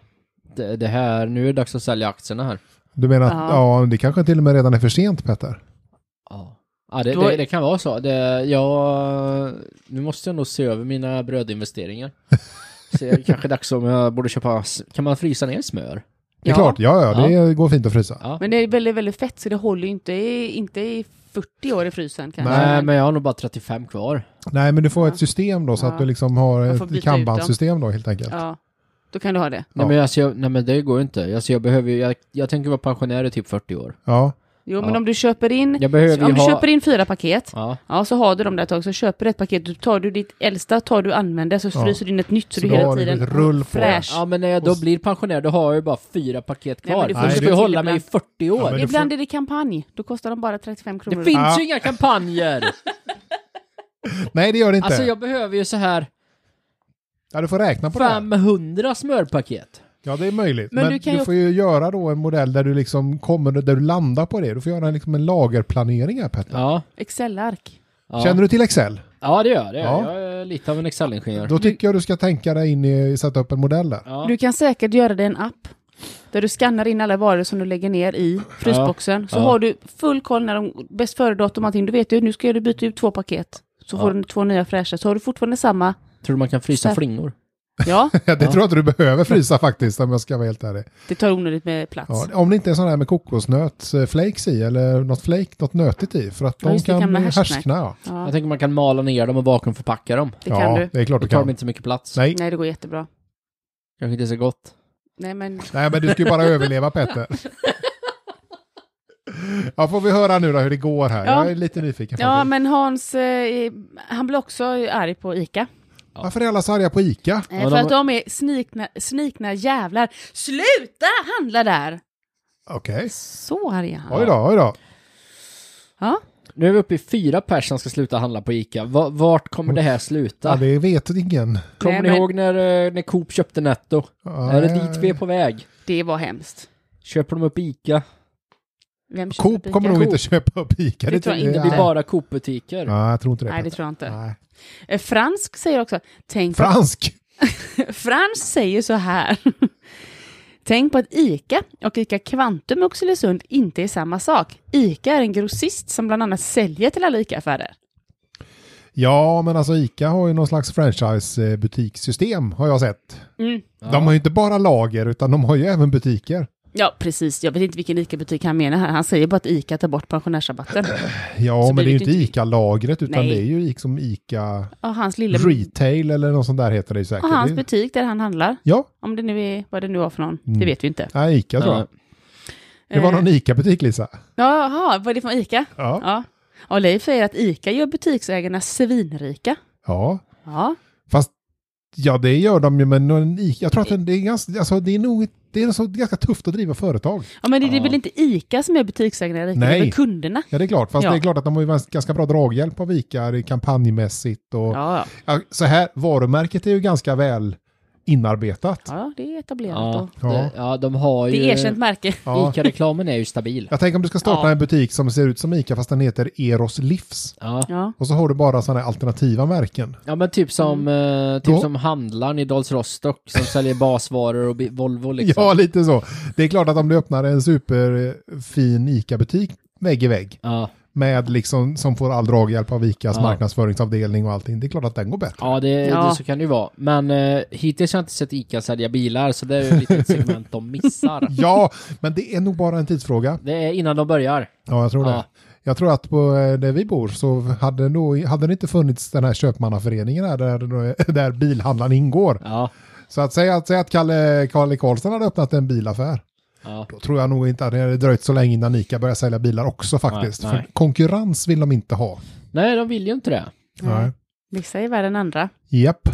[SPEAKER 2] Det, det här, nu är det dags att sälja aktierna här.
[SPEAKER 1] Du menar att
[SPEAKER 3] Ja.
[SPEAKER 1] ja. det kanske till och med redan är för sent, Petter?
[SPEAKER 2] Ja. Ja, det,
[SPEAKER 3] Då-
[SPEAKER 2] det, det kan vara så. Det, jag, nu måste jag nog se över mina brödinvesteringar. Så det är kanske dags om jag borde köpa... s- Kan man frysa ner smör?
[SPEAKER 1] Det är
[SPEAKER 3] Ja.
[SPEAKER 1] klart, ja, ja, det går fint att frysa.
[SPEAKER 2] Ja.
[SPEAKER 3] Men det är väldigt, väldigt fett, så det håller ju inte i, inte i 40 år i frysen kanske.
[SPEAKER 2] Nej, men jag har nog bara 35 kvar.
[SPEAKER 1] Nej, men du får
[SPEAKER 3] Ja.
[SPEAKER 1] ett system då, så
[SPEAKER 3] Ja.
[SPEAKER 1] att du liksom har
[SPEAKER 3] Man får byta
[SPEAKER 1] ett
[SPEAKER 3] ut dem.
[SPEAKER 1] kanbandsystem då, helt enkelt.
[SPEAKER 3] Ja, då kan du ha det.
[SPEAKER 2] Nej,
[SPEAKER 1] Ja.
[SPEAKER 2] men, alltså, jag, nej men det går ju inte. Alltså, jag, behöver, ju- jag, jag tänker vara pensionär i typ 40 år.
[SPEAKER 1] Ja.
[SPEAKER 3] Jo, men
[SPEAKER 2] Ja.
[SPEAKER 3] om du köper in...
[SPEAKER 2] Jag behöver
[SPEAKER 3] om
[SPEAKER 2] ju
[SPEAKER 3] du
[SPEAKER 2] ha...
[SPEAKER 3] köper in fyra paket,
[SPEAKER 2] Ja.
[SPEAKER 3] ja så har du dem där ett tag, så köper du ett paket, du tar du ditt äldsta, tar du och använder, så
[SPEAKER 1] Ja.
[SPEAKER 3] fryser du in ett nytt så,
[SPEAKER 1] Så
[SPEAKER 3] du
[SPEAKER 1] då
[SPEAKER 3] hela
[SPEAKER 1] har du
[SPEAKER 3] tiden
[SPEAKER 1] ett rull på.
[SPEAKER 3] fräsch.
[SPEAKER 2] ja, men när jag då blir pensionär då har jag ju bara fyra paket
[SPEAKER 3] Nej,
[SPEAKER 2] kvar.
[SPEAKER 3] men du
[SPEAKER 1] får
[SPEAKER 2] jag ska
[SPEAKER 1] köpa
[SPEAKER 2] ju
[SPEAKER 3] till
[SPEAKER 2] hålla mig i
[SPEAKER 3] ibland.
[SPEAKER 2] 40 år.
[SPEAKER 1] men du
[SPEAKER 3] Ibland
[SPEAKER 1] får-
[SPEAKER 3] är det kampanj, då kostar de bara 35
[SPEAKER 2] det
[SPEAKER 3] kronor.
[SPEAKER 2] finns
[SPEAKER 1] Ja.
[SPEAKER 2] ju inga kampanjer!
[SPEAKER 1] Nej, det gör det inte.
[SPEAKER 2] Alltså jag behöver ju så här
[SPEAKER 1] Ja, du får räkna på det. här.
[SPEAKER 2] 500 smörpaket.
[SPEAKER 1] Ja, det är möjligt.
[SPEAKER 3] Men
[SPEAKER 1] Men,
[SPEAKER 3] du
[SPEAKER 1] du,
[SPEAKER 3] kan ju-
[SPEAKER 1] får ju göra då en modell där du liksom kommer, där du landar på det. Du får göra liksom en lagerplanering här, Petter.
[SPEAKER 2] Ja.
[SPEAKER 3] Excel-ark.
[SPEAKER 2] Ja,
[SPEAKER 1] Känner du till Excel?
[SPEAKER 2] ja det gör det.
[SPEAKER 1] Ja.
[SPEAKER 2] Jag är lite av en Excel-ingenjör.
[SPEAKER 3] Mm.
[SPEAKER 1] Då tycker jag du ska tänka dig in i, sätta upp en modell där.
[SPEAKER 2] Ja.
[SPEAKER 3] Du kan säkert göra dig en app, där du skannar in alla varor som du lägger ner i frysboxen, så
[SPEAKER 2] Ja.
[SPEAKER 3] har du full koll när de, bäst före-datum och allting, du vet ju, nu ska du byta ut två paket, så
[SPEAKER 2] Ja.
[SPEAKER 3] får du två nya fräscha, så har du fortfarande samma,
[SPEAKER 2] Tror du man kan frysa
[SPEAKER 3] Stäm-
[SPEAKER 2] flingor?
[SPEAKER 3] ja,
[SPEAKER 1] Ja, det tror jag inte du behöver frysa faktiskt, om jag ska vara helt ärlig.
[SPEAKER 3] det tar onödigt med plats.
[SPEAKER 1] Ja, om det inte är sådana här med kokosnötsflakes i, eller något flake, något nötigt i, för att
[SPEAKER 3] Ja,
[SPEAKER 1] de
[SPEAKER 3] just det, kan
[SPEAKER 1] kan
[SPEAKER 3] med härskna.
[SPEAKER 1] härskna. Ja,
[SPEAKER 3] Ja,
[SPEAKER 2] Jag tänker man kan mala ner dem och vakuumförpacka dem.
[SPEAKER 3] det kan
[SPEAKER 1] ja
[SPEAKER 3] du.
[SPEAKER 1] det är klart
[SPEAKER 2] Då
[SPEAKER 1] du
[SPEAKER 2] tar de
[SPEAKER 1] kan.
[SPEAKER 2] inte så mycket plats.
[SPEAKER 1] Nej.
[SPEAKER 3] Nej, det går jättebra.
[SPEAKER 2] Kanske inte så gott.
[SPEAKER 3] Nej, men
[SPEAKER 1] Nej, men du ska ju bara överleva, Petter. Ja, får vi höra nu då hur det går här.
[SPEAKER 3] Ja.
[SPEAKER 1] Jag är lite nyfiken.
[SPEAKER 3] Ja,
[SPEAKER 1] faktiskt.
[SPEAKER 3] men Hans, eh, han blir också arg på ICA.
[SPEAKER 1] Varför är alla så arga på ICA?
[SPEAKER 3] Eh,
[SPEAKER 2] Ja,
[SPEAKER 3] för
[SPEAKER 2] de-
[SPEAKER 3] att de är snikna, snikna jävlar. Sluta handla där!
[SPEAKER 1] Okej.
[SPEAKER 3] Så arg är han.
[SPEAKER 1] Oj då, oj då.
[SPEAKER 3] Ja.
[SPEAKER 2] Nu är vi uppe i fyra pers som ska sluta handla på ICA. Va- Vart kommer det här sluta?
[SPEAKER 1] Ja, det vet ingen.
[SPEAKER 2] Kommer
[SPEAKER 3] Nej,
[SPEAKER 2] ni
[SPEAKER 3] men-
[SPEAKER 2] ihåg när, eh, när Coop köpte Netto?
[SPEAKER 1] Ja,
[SPEAKER 2] Är det
[SPEAKER 1] nej.
[SPEAKER 2] dit vi är på väg?
[SPEAKER 3] Det var hemskt.
[SPEAKER 2] Köper de upp ICA?
[SPEAKER 3] Vem köper
[SPEAKER 1] Coop
[SPEAKER 3] ICA?
[SPEAKER 1] kommer nog inte köpa upp ICA.
[SPEAKER 3] Det tror jag inte
[SPEAKER 2] Det blir
[SPEAKER 1] nej.
[SPEAKER 2] bara Coop-butiker.
[SPEAKER 1] Nej, jag tror inte det.
[SPEAKER 3] Nej, det
[SPEAKER 1] Petter.
[SPEAKER 3] tror jag inte.
[SPEAKER 1] Nej.
[SPEAKER 3] Eh, Fransk säger också, tänk
[SPEAKER 1] Fransk!
[SPEAKER 3] Frans säger så här. Tänk på att ICA och ICA Kvantum i Oxelösund inte är samma sak. ICA är en grossist som bland annat säljer till alla ICA-affärer.
[SPEAKER 1] Ja, men alltså Ica har ju någon slags franchise-butikssystem har jag sett.
[SPEAKER 3] Mm.
[SPEAKER 1] De har ju inte bara lager utan de har ju även butiker.
[SPEAKER 3] Ja, precis. Jag vet inte vilken ICA-butik han menar här. Han säger bara att ICA tar bort pensionärsrabatten.
[SPEAKER 1] Ja,
[SPEAKER 3] Så
[SPEAKER 1] men det är
[SPEAKER 3] blir
[SPEAKER 1] ju
[SPEAKER 3] det
[SPEAKER 1] inte Ica-lagret utan
[SPEAKER 3] Nej.
[SPEAKER 1] det är ju liksom Ica
[SPEAKER 3] Och hans lille...
[SPEAKER 1] Retail eller något sånt där heter det ju säkert.
[SPEAKER 3] Och hans
[SPEAKER 1] Det-
[SPEAKER 3] butik där han handlar.
[SPEAKER 1] Ja,
[SPEAKER 3] Om det nu är vad det nu var för någon.
[SPEAKER 1] Mm.
[SPEAKER 3] Det vet vi inte.
[SPEAKER 1] nej, Ica tror jag.
[SPEAKER 2] Ja.
[SPEAKER 1] Det var
[SPEAKER 3] Eh,
[SPEAKER 1] någon Ica-butik Lisa.
[SPEAKER 3] Jaha, vad är det för ICA?
[SPEAKER 1] Ja.
[SPEAKER 3] Ja. Och Leif säger att ICA gör butiksägarna svinrika.
[SPEAKER 1] ja,
[SPEAKER 3] Ja.
[SPEAKER 1] fast ja det gör de ju men någon Ica, jag tror att den- det är ganska, alltså det är nog, det är så ganska tufft att driva företag.
[SPEAKER 3] ja men det, det är
[SPEAKER 2] Ja.
[SPEAKER 3] väl inte ICA som är butiksägarna rika, det är
[SPEAKER 1] Nej.
[SPEAKER 3] väl kunderna.
[SPEAKER 1] Ja det är klart, fast
[SPEAKER 3] Ja.
[SPEAKER 1] det är klart att de har ju ganska bra draghjälp av Ica det är kampanjmässigt och
[SPEAKER 3] Ja, ja.
[SPEAKER 1] Ja, så här, varumärket är ju ganska väl inarbetat.
[SPEAKER 3] ja det är etablerat.
[SPEAKER 2] Ja,
[SPEAKER 3] Och
[SPEAKER 1] Ja.
[SPEAKER 2] det, ja, de har ju...
[SPEAKER 3] det är erkänt märke.
[SPEAKER 1] Ja.
[SPEAKER 2] Ica-reklamen är ju stabil.
[SPEAKER 1] Jag tänker om du ska starta
[SPEAKER 3] Ja.
[SPEAKER 1] en butik som ser ut som Ica fast den heter Eros Livs.
[SPEAKER 2] Ja.
[SPEAKER 3] Ja.
[SPEAKER 1] Och så har du bara sådana här alternativa märken.
[SPEAKER 2] ja, men typ som, eh, typ
[SPEAKER 1] Mm. Ja.
[SPEAKER 2] som handlaren i Dals Rostock som säljer basvaror och bi- Volvo liksom.
[SPEAKER 1] Ja, lite så. Det är klart att om du öppnar en superfin Ica-butik vägg i vägg
[SPEAKER 2] Ja,
[SPEAKER 1] med liksom som får all draghjälp av Icas
[SPEAKER 2] Ja.
[SPEAKER 1] marknadsföringsavdelning och allting. Det är klart att den går bättre.
[SPEAKER 2] ja, det,
[SPEAKER 3] Ja.
[SPEAKER 2] Det, så kan det ju vara. Men eh, hittills har jag inte sett Ica sälja bilar, så det är ju ett litet segment de missar.
[SPEAKER 1] Ja, men det är nog bara en tidsfråga.
[SPEAKER 2] Det är innan de börjar.
[SPEAKER 1] Ja, jag tror det.
[SPEAKER 2] Ja.
[SPEAKER 1] Jag tror att på eh, där vi bor så hade, nog, hade det inte funnits den här köpmannaföreningen här där, där bilhandlaren ingår.
[SPEAKER 2] Ja,
[SPEAKER 1] Så att säga att, säga att Kalle, Kalle Karlsson hade öppnat en bilaffär,
[SPEAKER 2] ja.
[SPEAKER 1] då tror jag nog inte att det hade dröjt så länge innan Ica började sälja bilar också faktiskt.
[SPEAKER 2] Nej, nej.
[SPEAKER 1] För konkurrens vill de inte ha.
[SPEAKER 2] Nej, de vill ju inte det.
[SPEAKER 1] Nej.
[SPEAKER 3] Vissa är värre än andra.
[SPEAKER 1] Japp.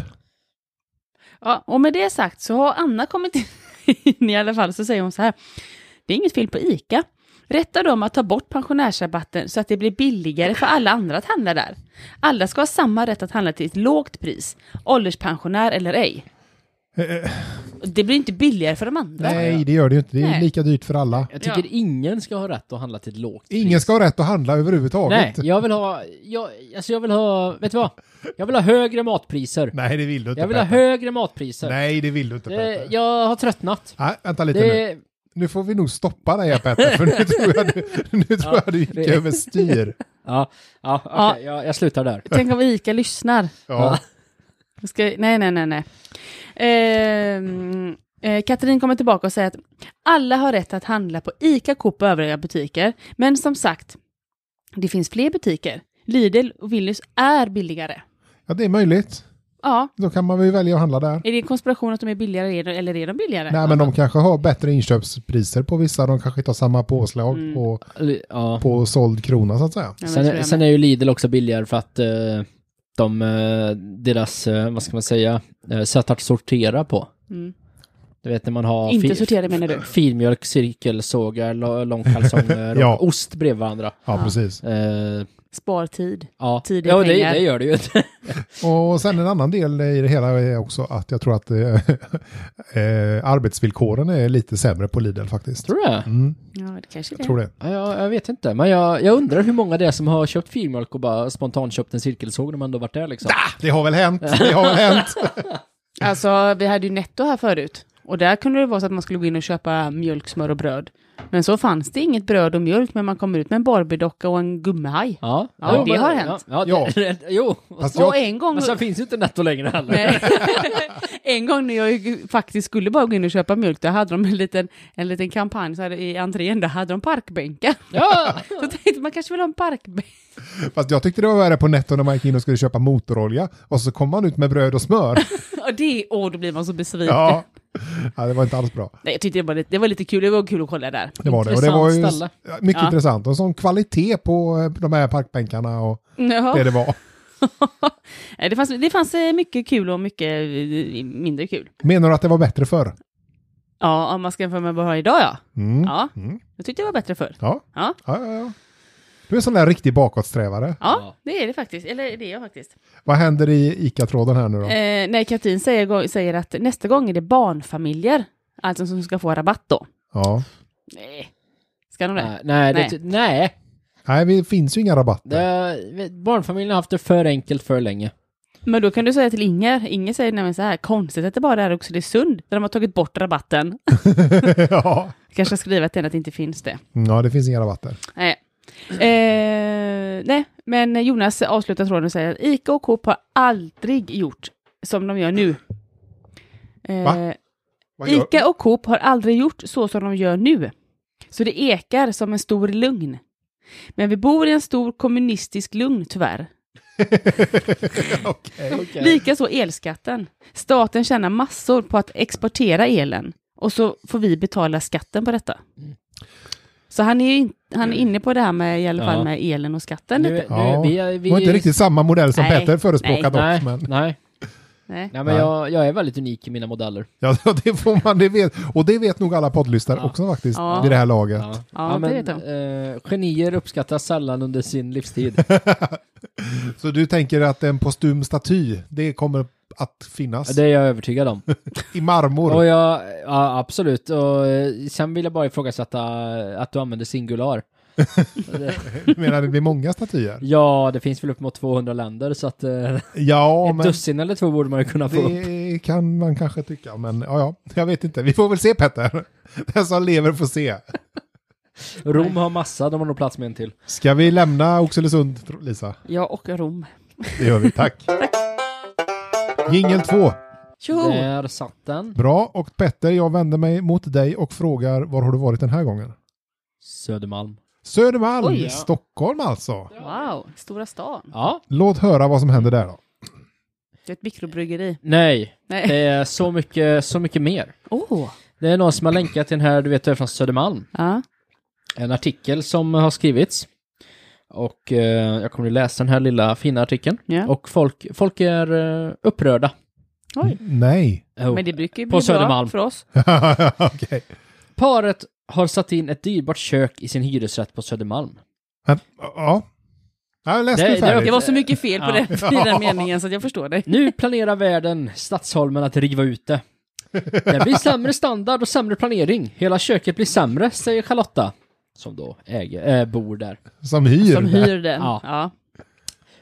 [SPEAKER 3] Ja, och med det sagt så har Anna kommit in i alla fall, så säger hon så här. Det är inget fel på ICA. Rätta dem att ta bort pensionärsrabatten så att det blir billigare för alla andra att handla där. Alla ska ha samma rätt att handla till ett lågt pris, ålderspensionär eller ej. Och Det blir inte billigare för de andra.
[SPEAKER 1] Nej, det gör det ju inte. Det är
[SPEAKER 3] Nej.
[SPEAKER 1] lika dyrt för alla.
[SPEAKER 2] Jag tycker
[SPEAKER 3] Ja.
[SPEAKER 2] ingen ska ha rätt att handla till ett lågt pris.
[SPEAKER 1] Ingen ska ha rätt att handla
[SPEAKER 2] Nej,
[SPEAKER 1] överhuvudtaget.
[SPEAKER 2] jag vill ha... Jag, alltså jag vill ha... Vet du vad? Jag vill ha högre matpriser.
[SPEAKER 1] Nej, det vill du inte.
[SPEAKER 2] jag vill ha
[SPEAKER 1] Peter.
[SPEAKER 2] högre matpriser.
[SPEAKER 1] Nej, det vill du inte.
[SPEAKER 2] det,
[SPEAKER 1] Peter.
[SPEAKER 2] jag har tröttnat.
[SPEAKER 1] Nej, vänta lite nu.
[SPEAKER 2] Det,
[SPEAKER 1] Nu får vi nog stoppa dig här, Petter, för nu tror jag du, nu tror jag du gick
[SPEAKER 2] det-
[SPEAKER 1] överstyr.
[SPEAKER 2] ja, ja,
[SPEAKER 3] Ja.
[SPEAKER 2] okej, jag, jag slutar där.
[SPEAKER 3] Tänk om ICA lyssnar.
[SPEAKER 1] Ja.
[SPEAKER 3] Jag Ska, nej, nej, nej, nej. Ehm, eh, Katrin kommer tillbaka och säger att alla har rätt att handla på ICA, Coop och övriga butiker. Men som sagt, det finns fler butiker. Lidl och Willys är billigare.
[SPEAKER 1] ja, det är möjligt.
[SPEAKER 3] Ja,
[SPEAKER 1] Då kan man väl välja att handla där.
[SPEAKER 3] är det en konspiration att de är billigare eller är de billigare?
[SPEAKER 1] Nej, men de kanske har bättre inköpspriser på vissa. De kanske inte har samma påslag
[SPEAKER 3] Mm.
[SPEAKER 1] på,
[SPEAKER 2] Eller, Ja.
[SPEAKER 1] på såld krona, så att säga.
[SPEAKER 3] Ja, men det tror
[SPEAKER 2] Sen,
[SPEAKER 3] jag
[SPEAKER 2] sen
[SPEAKER 3] med.
[SPEAKER 2] är ju Lidl också billigare för att eh, de, eh, deras, eh, vad ska man säga, eh, sätt att sortera på.
[SPEAKER 3] Mm.
[SPEAKER 2] Du vet när man har
[SPEAKER 3] Inte
[SPEAKER 2] fi-
[SPEAKER 3] sortera, menar du?
[SPEAKER 2] filmjölk, cirkelsågar, lo- långkalsonger
[SPEAKER 1] Ja.
[SPEAKER 2] och ost bredvid varandra.
[SPEAKER 1] Ja,
[SPEAKER 3] Ja.
[SPEAKER 1] precis.
[SPEAKER 2] Eh,
[SPEAKER 3] Spar tid.
[SPEAKER 2] ja,
[SPEAKER 3] Tid är
[SPEAKER 2] ja det,
[SPEAKER 3] pengar.
[SPEAKER 2] det gör det ju.
[SPEAKER 1] Och sen en annan del i det hela är också att jag tror att eh, eh, arbetsvillkoren är lite sämre på Lidl faktiskt.
[SPEAKER 2] Tror du det?
[SPEAKER 1] Mm,
[SPEAKER 3] Ja, det kanske det
[SPEAKER 1] jag
[SPEAKER 3] är.
[SPEAKER 1] tror det.
[SPEAKER 2] Ja, jag, jag vet inte, men jag, jag undrar hur många det är som har köpt filmjölk och bara spontant köpt en cirkelsåg när man då varit där liksom.
[SPEAKER 1] Det har väl hänt. Det har väl hänt.
[SPEAKER 3] Alltså, vi hade ju Netto här förut. Och där kunde det vara så att man skulle gå in och köpa mjölk, smör och bröd. Men så fanns det inget bröd och mjölk, men man kom ut med en Barbiedocka och en gummihaj.
[SPEAKER 2] Ja,
[SPEAKER 3] Ja, det har hänt.
[SPEAKER 2] Ja, ja, det, jo.
[SPEAKER 1] Fast
[SPEAKER 3] och
[SPEAKER 1] Alltså, jag,
[SPEAKER 3] en gång...
[SPEAKER 2] Men sen finns ju inte Netto längre heller.
[SPEAKER 3] Nej. en gång när jag ju faktiskt skulle bara gå in och köpa mjölk, där hade de en liten, en liten kampanj så här, i entrén, där hade de parkbänkar.
[SPEAKER 2] Ja,
[SPEAKER 3] Så tänkte man kanske vill ha en parkbänk.
[SPEAKER 1] fast jag tyckte det var värre på Netto när man gick in och skulle köpa motorolja och så kom man ut med bröd och smör.
[SPEAKER 3] Och det, åh, då blir man så besviken.
[SPEAKER 1] Ja, ja det var inte alls bra.
[SPEAKER 3] Nej, jag tyckte det var, lite, det var lite kul, det var kul att kolla där.
[SPEAKER 1] Det var det. Och det
[SPEAKER 2] Intressant
[SPEAKER 1] var ju
[SPEAKER 2] ställe.
[SPEAKER 1] s- mycket
[SPEAKER 3] Ja.
[SPEAKER 1] intressant. Och sån kvalitet på eh, de här parkbänkarna och
[SPEAKER 3] Jaha.
[SPEAKER 1] det det var.
[SPEAKER 3] Nej, det, fanns, det fanns eh, mycket kul och mycket eh, mindre kul.
[SPEAKER 1] Menar du att det var bättre förr?
[SPEAKER 3] Ja, om man ska jämföra med vad jag har idag ja.
[SPEAKER 1] Mm.
[SPEAKER 3] Ja,
[SPEAKER 1] Mm.
[SPEAKER 3] jag tyckte det var bättre förr.
[SPEAKER 1] Ja.
[SPEAKER 3] Ja.
[SPEAKER 1] Ja, ja, ja. Du är en sån där riktig bakåtsträvare.
[SPEAKER 3] Ja,
[SPEAKER 2] Ja.
[SPEAKER 3] det är det faktiskt. Eller det är jag faktiskt.
[SPEAKER 1] Vad händer i ICA-tråden här nu då?
[SPEAKER 3] Eh, nej, Katrin säger, säger att nästa gång är det barnfamiljer, alltså som ska få rabatt då.
[SPEAKER 1] Ja.
[SPEAKER 3] Nej, ska de det?
[SPEAKER 2] nej, nej,
[SPEAKER 3] Nej.
[SPEAKER 2] det, nej.
[SPEAKER 1] Nej, det finns ju inga rabatter.
[SPEAKER 2] Det, barnfamiljen har haft det för enkelt för länge.
[SPEAKER 3] Men då kan du säga till Inger, Inger säger nämligen så här, konstigt att det bara är Oxelösund där de har tagit bort rabatten.
[SPEAKER 1] ja. Mm,
[SPEAKER 3] Kanske skriva till henne att det inte finns det.
[SPEAKER 1] ja, det finns inga rabatter.
[SPEAKER 3] Nej. Eh, nej, men Jonas avslutar tråden och säger att ICA och Coop har aldrig gjort som de gör nu. Eh,
[SPEAKER 1] Va? Vad gör-
[SPEAKER 3] ICA och Coop har aldrig gjort så som de gör nu. Så det ekar som en stor lugn. Men vi bor i en stor kommunistisk lugn tyvärr.
[SPEAKER 1] Okej.
[SPEAKER 3] Likaså elskatten. Staten tjänar massor på att exportera elen och så får vi betala skatten på detta. Så han är, ju in, han är inne på det här med, i alla fall
[SPEAKER 2] Ja.
[SPEAKER 3] med elen och skatten.
[SPEAKER 2] Nu,
[SPEAKER 3] Lite.
[SPEAKER 2] nu,
[SPEAKER 1] Ja.
[SPEAKER 2] vi,
[SPEAKER 1] Det
[SPEAKER 2] vi,
[SPEAKER 1] var inte riktigt samma modell som
[SPEAKER 3] Nej,
[SPEAKER 1] Peter förespråkat
[SPEAKER 2] Nej,
[SPEAKER 1] dock. Men,
[SPEAKER 2] nej,
[SPEAKER 3] Nej.
[SPEAKER 2] nej, men
[SPEAKER 1] Nej.
[SPEAKER 2] jag, jag är väldigt unik i mina modeller.
[SPEAKER 1] ja, det får man, det vet. Och det vet nog alla poddlyssnare
[SPEAKER 2] Ja.
[SPEAKER 1] också faktiskt
[SPEAKER 3] Ja.
[SPEAKER 1] vid det här laget.
[SPEAKER 2] Ja, ja,
[SPEAKER 3] det
[SPEAKER 2] men
[SPEAKER 3] vet
[SPEAKER 2] eh, genier uppskattas sällan under sin livstid.
[SPEAKER 1] Så du tänker att en postum staty, det kommer att finnas
[SPEAKER 2] det är jag övertygad om.
[SPEAKER 1] i marmor?
[SPEAKER 2] Och jag, ja, absolut. Och, eh, sen vill jag bara ifrågasätta eh, att du använder singular.
[SPEAKER 1] Du menar det blir många statyer?
[SPEAKER 2] Ja, det finns väl upp mot 200 länder så att eh,
[SPEAKER 1] Ja,
[SPEAKER 2] ett
[SPEAKER 1] men
[SPEAKER 2] dussin eller två borde man ju kunna få upp.
[SPEAKER 1] det kan man kanske tycka. Men ja, ja, jag vet inte. Vi får väl se Petter. Den som lever får se.
[SPEAKER 2] Rom har massa, de har nog plats med en till.
[SPEAKER 1] Ska vi lämna Oxelösund, tro- Lisa?
[SPEAKER 3] Jag och Rom.
[SPEAKER 1] Det gör vi, tack. Jingel 2.
[SPEAKER 3] Tjoho!
[SPEAKER 2] Där satt den.
[SPEAKER 1] Bra, och Petter, jag vänder mig mot dig och frågar var har du varit den här gången?
[SPEAKER 2] Södermalm.
[SPEAKER 1] Södermalm,
[SPEAKER 3] Oj, ja.
[SPEAKER 1] Stockholm alltså.
[SPEAKER 3] Wow, Stora stan.
[SPEAKER 2] Ja.
[SPEAKER 1] Låt höra vad som händer där då.
[SPEAKER 3] Det är ett mikrobryggeri.
[SPEAKER 2] Nej,
[SPEAKER 3] Nej.
[SPEAKER 2] det är så mycket, så mycket mer.
[SPEAKER 3] Åh! Oh.
[SPEAKER 2] Det är någon som har länkat till den här, du vet, från Södermalm.
[SPEAKER 3] Ja.
[SPEAKER 2] En artikel som har skrivits. Och eh, jag kommer att läsa den här lilla fina artikeln.
[SPEAKER 3] Ja.
[SPEAKER 2] Och folk, folk är eh, upprörda.
[SPEAKER 3] Oj.
[SPEAKER 1] Nej.
[SPEAKER 2] Jo.
[SPEAKER 3] Men det brukar ju
[SPEAKER 2] På
[SPEAKER 3] bli bra
[SPEAKER 2] Södermalm.
[SPEAKER 3] för oss.
[SPEAKER 1] Okej.
[SPEAKER 2] Paret har satt in ett dyrbart kök i sin hyresrätt på Södermalm.
[SPEAKER 1] Men, Ja. Jag läste
[SPEAKER 2] Det-
[SPEAKER 1] det,
[SPEAKER 2] det-
[SPEAKER 1] färdigt.
[SPEAKER 3] Det var så mycket fel på
[SPEAKER 2] Ja.
[SPEAKER 3] den, i den meningen så att jag förstår dig.
[SPEAKER 2] Nu planerar världen Stadsholmen att riva ut det. Det blir sämre standard och sämre planering. Hela köket blir sämre, säger Charlotta. Som då äger, äh, bor där.
[SPEAKER 1] Som hyr.
[SPEAKER 3] Som hyr den.
[SPEAKER 2] Ja.
[SPEAKER 3] Ja.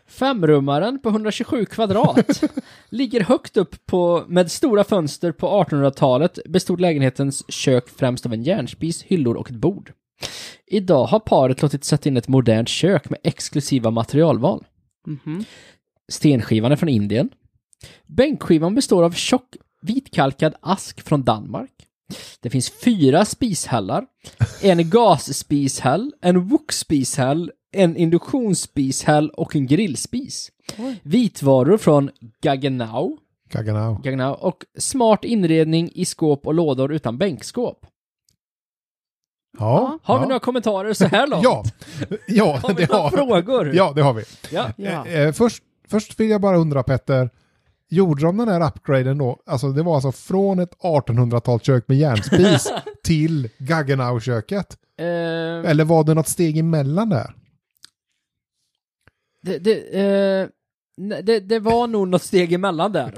[SPEAKER 2] Femrummaren på 127 kvadrat ligger högt upp på, med stora fönster på 1800-talet bestod lägenhetens kök främst av en järnspis, hyllor och ett bord. Idag har paret låtit sätta in ett modernt kök med exklusiva materialval.
[SPEAKER 3] Mhm.
[SPEAKER 2] Stenskivan är från Indien. Bänkskivan består av tjock vitkalkad ask från Danmark. Det finns fyra spishällar, en gasspishäll, en wokspishäll, en induktionsspishäll och en grillspis.
[SPEAKER 3] Oj.
[SPEAKER 2] Vitvaror från Gaggenau,
[SPEAKER 1] Kaganau.
[SPEAKER 2] Gaggenau och smart inredning i skåp och lådor utan bänkskåp.
[SPEAKER 1] Ja.
[SPEAKER 2] Har vi
[SPEAKER 1] ja.
[SPEAKER 2] några kommentarer så här långt?
[SPEAKER 1] Ja. Ja,
[SPEAKER 2] har vi
[SPEAKER 1] det
[SPEAKER 2] några
[SPEAKER 1] har vi.
[SPEAKER 2] frågor?
[SPEAKER 1] Ja, det har vi.
[SPEAKER 2] Ja.
[SPEAKER 3] Ja.
[SPEAKER 1] Eh, eh, först, först vill jag bara undra Petter, gjorde de den här upgraden då, alltså det var alltså från ett 1800-talskök med järnspis till Gaggenau-köket?
[SPEAKER 2] Eh,
[SPEAKER 1] Eller var det något steg emellan där?
[SPEAKER 2] Det, det, eh, nej, det, det var nog något steg emellan där.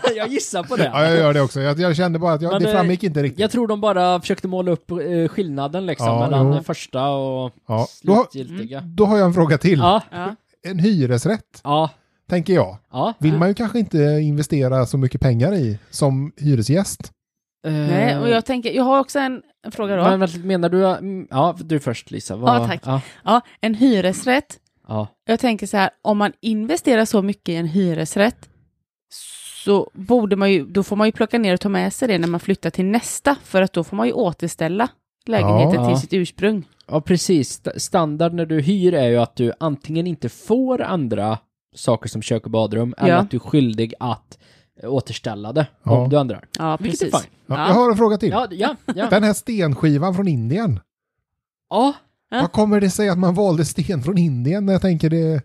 [SPEAKER 2] jag gissar på det.
[SPEAKER 1] Ja, jag gör det också. Jag, jag kände bara att jag,
[SPEAKER 2] Men,
[SPEAKER 1] det
[SPEAKER 2] eh,
[SPEAKER 1] framgick inte riktigt.
[SPEAKER 2] Jag tror de bara försökte måla upp eh, skillnaden liksom
[SPEAKER 1] Ja,
[SPEAKER 2] mellan
[SPEAKER 1] jo.
[SPEAKER 2] den första och
[SPEAKER 1] ja. då, har-
[SPEAKER 2] slutgiltiga.
[SPEAKER 1] då har jag en fråga till.
[SPEAKER 2] Ja,
[SPEAKER 3] Ja.
[SPEAKER 1] En hyresrätt,
[SPEAKER 2] ja,
[SPEAKER 1] tänker jag,
[SPEAKER 2] ja.
[SPEAKER 1] vill man ju kanske inte investera så mycket pengar i som hyresgäst.
[SPEAKER 3] Nej, och jag tänker, jag har också en en fråga då.
[SPEAKER 2] Eh, Men vänta, menar du... mm, Ja, du först Lisa. Vad-
[SPEAKER 3] Ja, tack.
[SPEAKER 2] Ja,
[SPEAKER 3] Ja, en hyresrätt.
[SPEAKER 2] ja.
[SPEAKER 3] Jag tänker så här, om man investerar så mycket i en hyresrätt så borde man ju, då får man ju plocka ner och ta med sig det när man flyttar till nästa, för att då får man ju återställa lägenheten
[SPEAKER 2] Ja.
[SPEAKER 3] till sitt ursprung.
[SPEAKER 2] ja precis. St- Standard när du hyr är ju att du antingen inte får andra saker som kök och badrum eller
[SPEAKER 3] Ja.
[SPEAKER 2] att du är skyldig att eh, återställa det
[SPEAKER 1] Ja.
[SPEAKER 2] om du ändrar.
[SPEAKER 3] Ja,
[SPEAKER 2] Vilket är
[SPEAKER 3] precis.
[SPEAKER 2] fine.
[SPEAKER 1] Ja,
[SPEAKER 3] Ja.
[SPEAKER 1] Jag har en fråga till.
[SPEAKER 2] Ja, ja, ja.
[SPEAKER 1] Den här stenskivan från Indien,
[SPEAKER 2] ja.
[SPEAKER 3] Ja.
[SPEAKER 1] vad kommer det sig att man valde sten från Indien? när Jag tänker det...